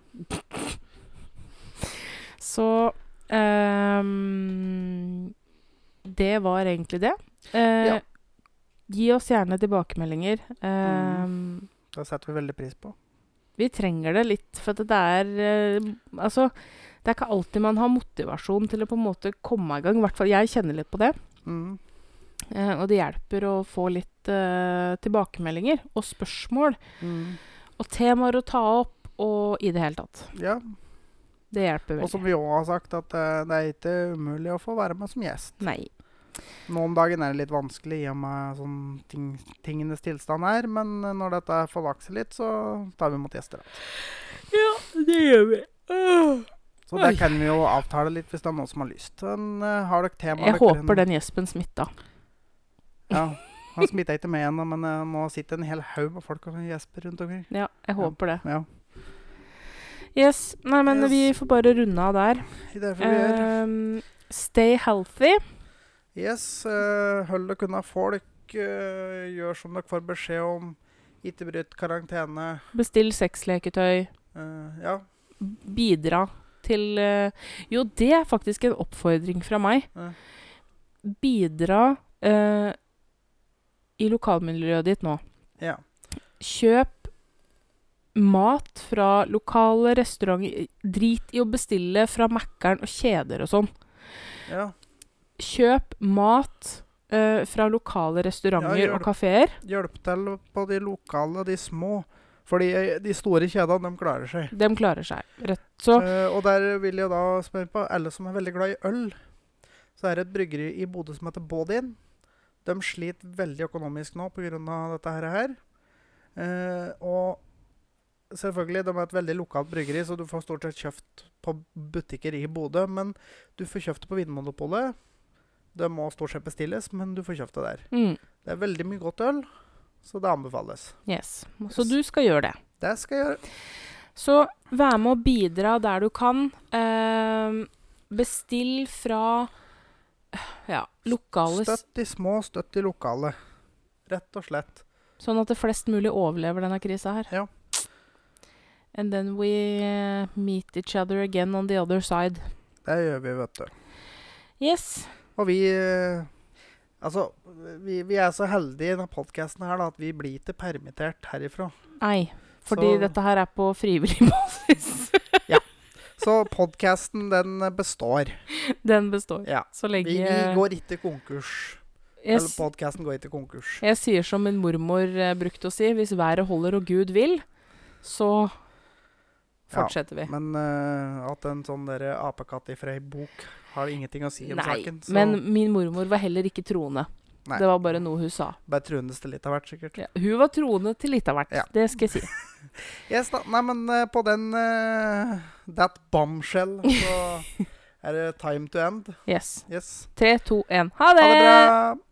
Så ehm, Det var egentlig det. Eh, Ja. Gi oss gjerne tilbakemeldinger. Mm. Ehm, Det setter vi veldig pris på. Vi trenger det litt, for at det er eh, Altså, det er ikke alltid man har motivasjon til å på en måte komme i gang. I hvert fall jeg kjenner litt på det. Mm. Eh, og det hjelper å få litt eh, tilbakemeldinger og spørsmål Mm. og temaer å ta opp og i det hele tatt. Ja. Det hjelper Og veldig. som vi òg har sagt, at eh, det er ikke umulig å få være med som gjest. Nei. Nå om dagen er det litt vanskelig i og med sånn ting, tingenes tilstand her, men eh, når dette får lagt seg litt, så tar vi imot gjester. da. Ja, det gjør vi. Så det Oi. kan vi jo avtale litt hvis det er noen som har lyst. Men eh, har dere tema? Jeg håper den gjespen smitta. Ja, Han smitta ikke med ennå, men eh, nå sitter en hel haug med folk og gjesper rundt omkring. Ja, jeg håper det. Ja, Yes. Nei, men Yes. vi får bare runde av der. det er det vi gjør. Ehm, stay healthy. Yes, eh, hold dere unna folk. eh, gjør som dere får beskjed om. Ikke bryt karantene. Bestill sexleketøy. eh, ja. Bidra til eh, Jo, det er faktisk en oppfordring fra meg. Ja. Bidra eh, i lokalmiljøet ditt nå. ja. Kjøp mat fra lokale restauranter. Drit i å bestille fra Mækkern og kjeder og sånn. ja. kjøp mat eh, fra lokale restauranter Ja, gjør og det. kafeer. hjelp til på de lokale og de små. Fordi eh, de store kjedene, de klarer seg. De klarer seg. Rett. Så Eh, og der vil jeg da spørre på alle som er veldig glad i øl. Så er det et bryggeri i Bodø som heter Bådin. De sliter veldig økonomisk nå pga. dette her. her. Eh, og selvfølgelig, de er et veldig lokalt bryggeri, så du får stort sett kjøpt på butikker i Bodø. Men du får kjøpt det på Vinmonopolet. Det må stort sett bestilles, men du får kjøpt det der. Mm. Det er veldig mye godt øl, så det anbefales. Yes. Så du skal gjøre det. Det skal jeg gjøre. Så vær med og bidra der du kan. Ehm, bestill fra ja, lokale s- Støtt de små, støtt de lokale. Rett og slett. Sånn at det flest mulig overlever denne krisa her. Ja. And then we eh, meet each other again on the other side. Det gjør vi, vet du. Yes. Og vi eh, Altså, vi, vi er så heldige i denne podkasten her da, at vi blir ikke permittert herifra. Nei. Fordi Så- dette her er på frivillig basis. Så podkasten, den eh, består. Den består. Ja. Så lenge Vi, vi går ikke konkurs. jeg, Eller s- podkasten går ikke konkurs. jeg sier som min mormor eh, brukte å si, hvis været holder og Gud vil, så Ja, fortsetter vi. Men eh, at en sånn der apekatt ifra ei bok har ingenting å si om Nei, saken. Så men min mormor var heller ikke troende. Nei. Det var bare noe hun sa. bare trunes det litt av hvert, sikkert. Ja, hun var troende til litt av hvert, Ja. det skal jeg si. Yes, da. Nei, men eh, på den eh, That bombshell så er det time to end. Yes. Yes. Tre, to, én. Ha det bra!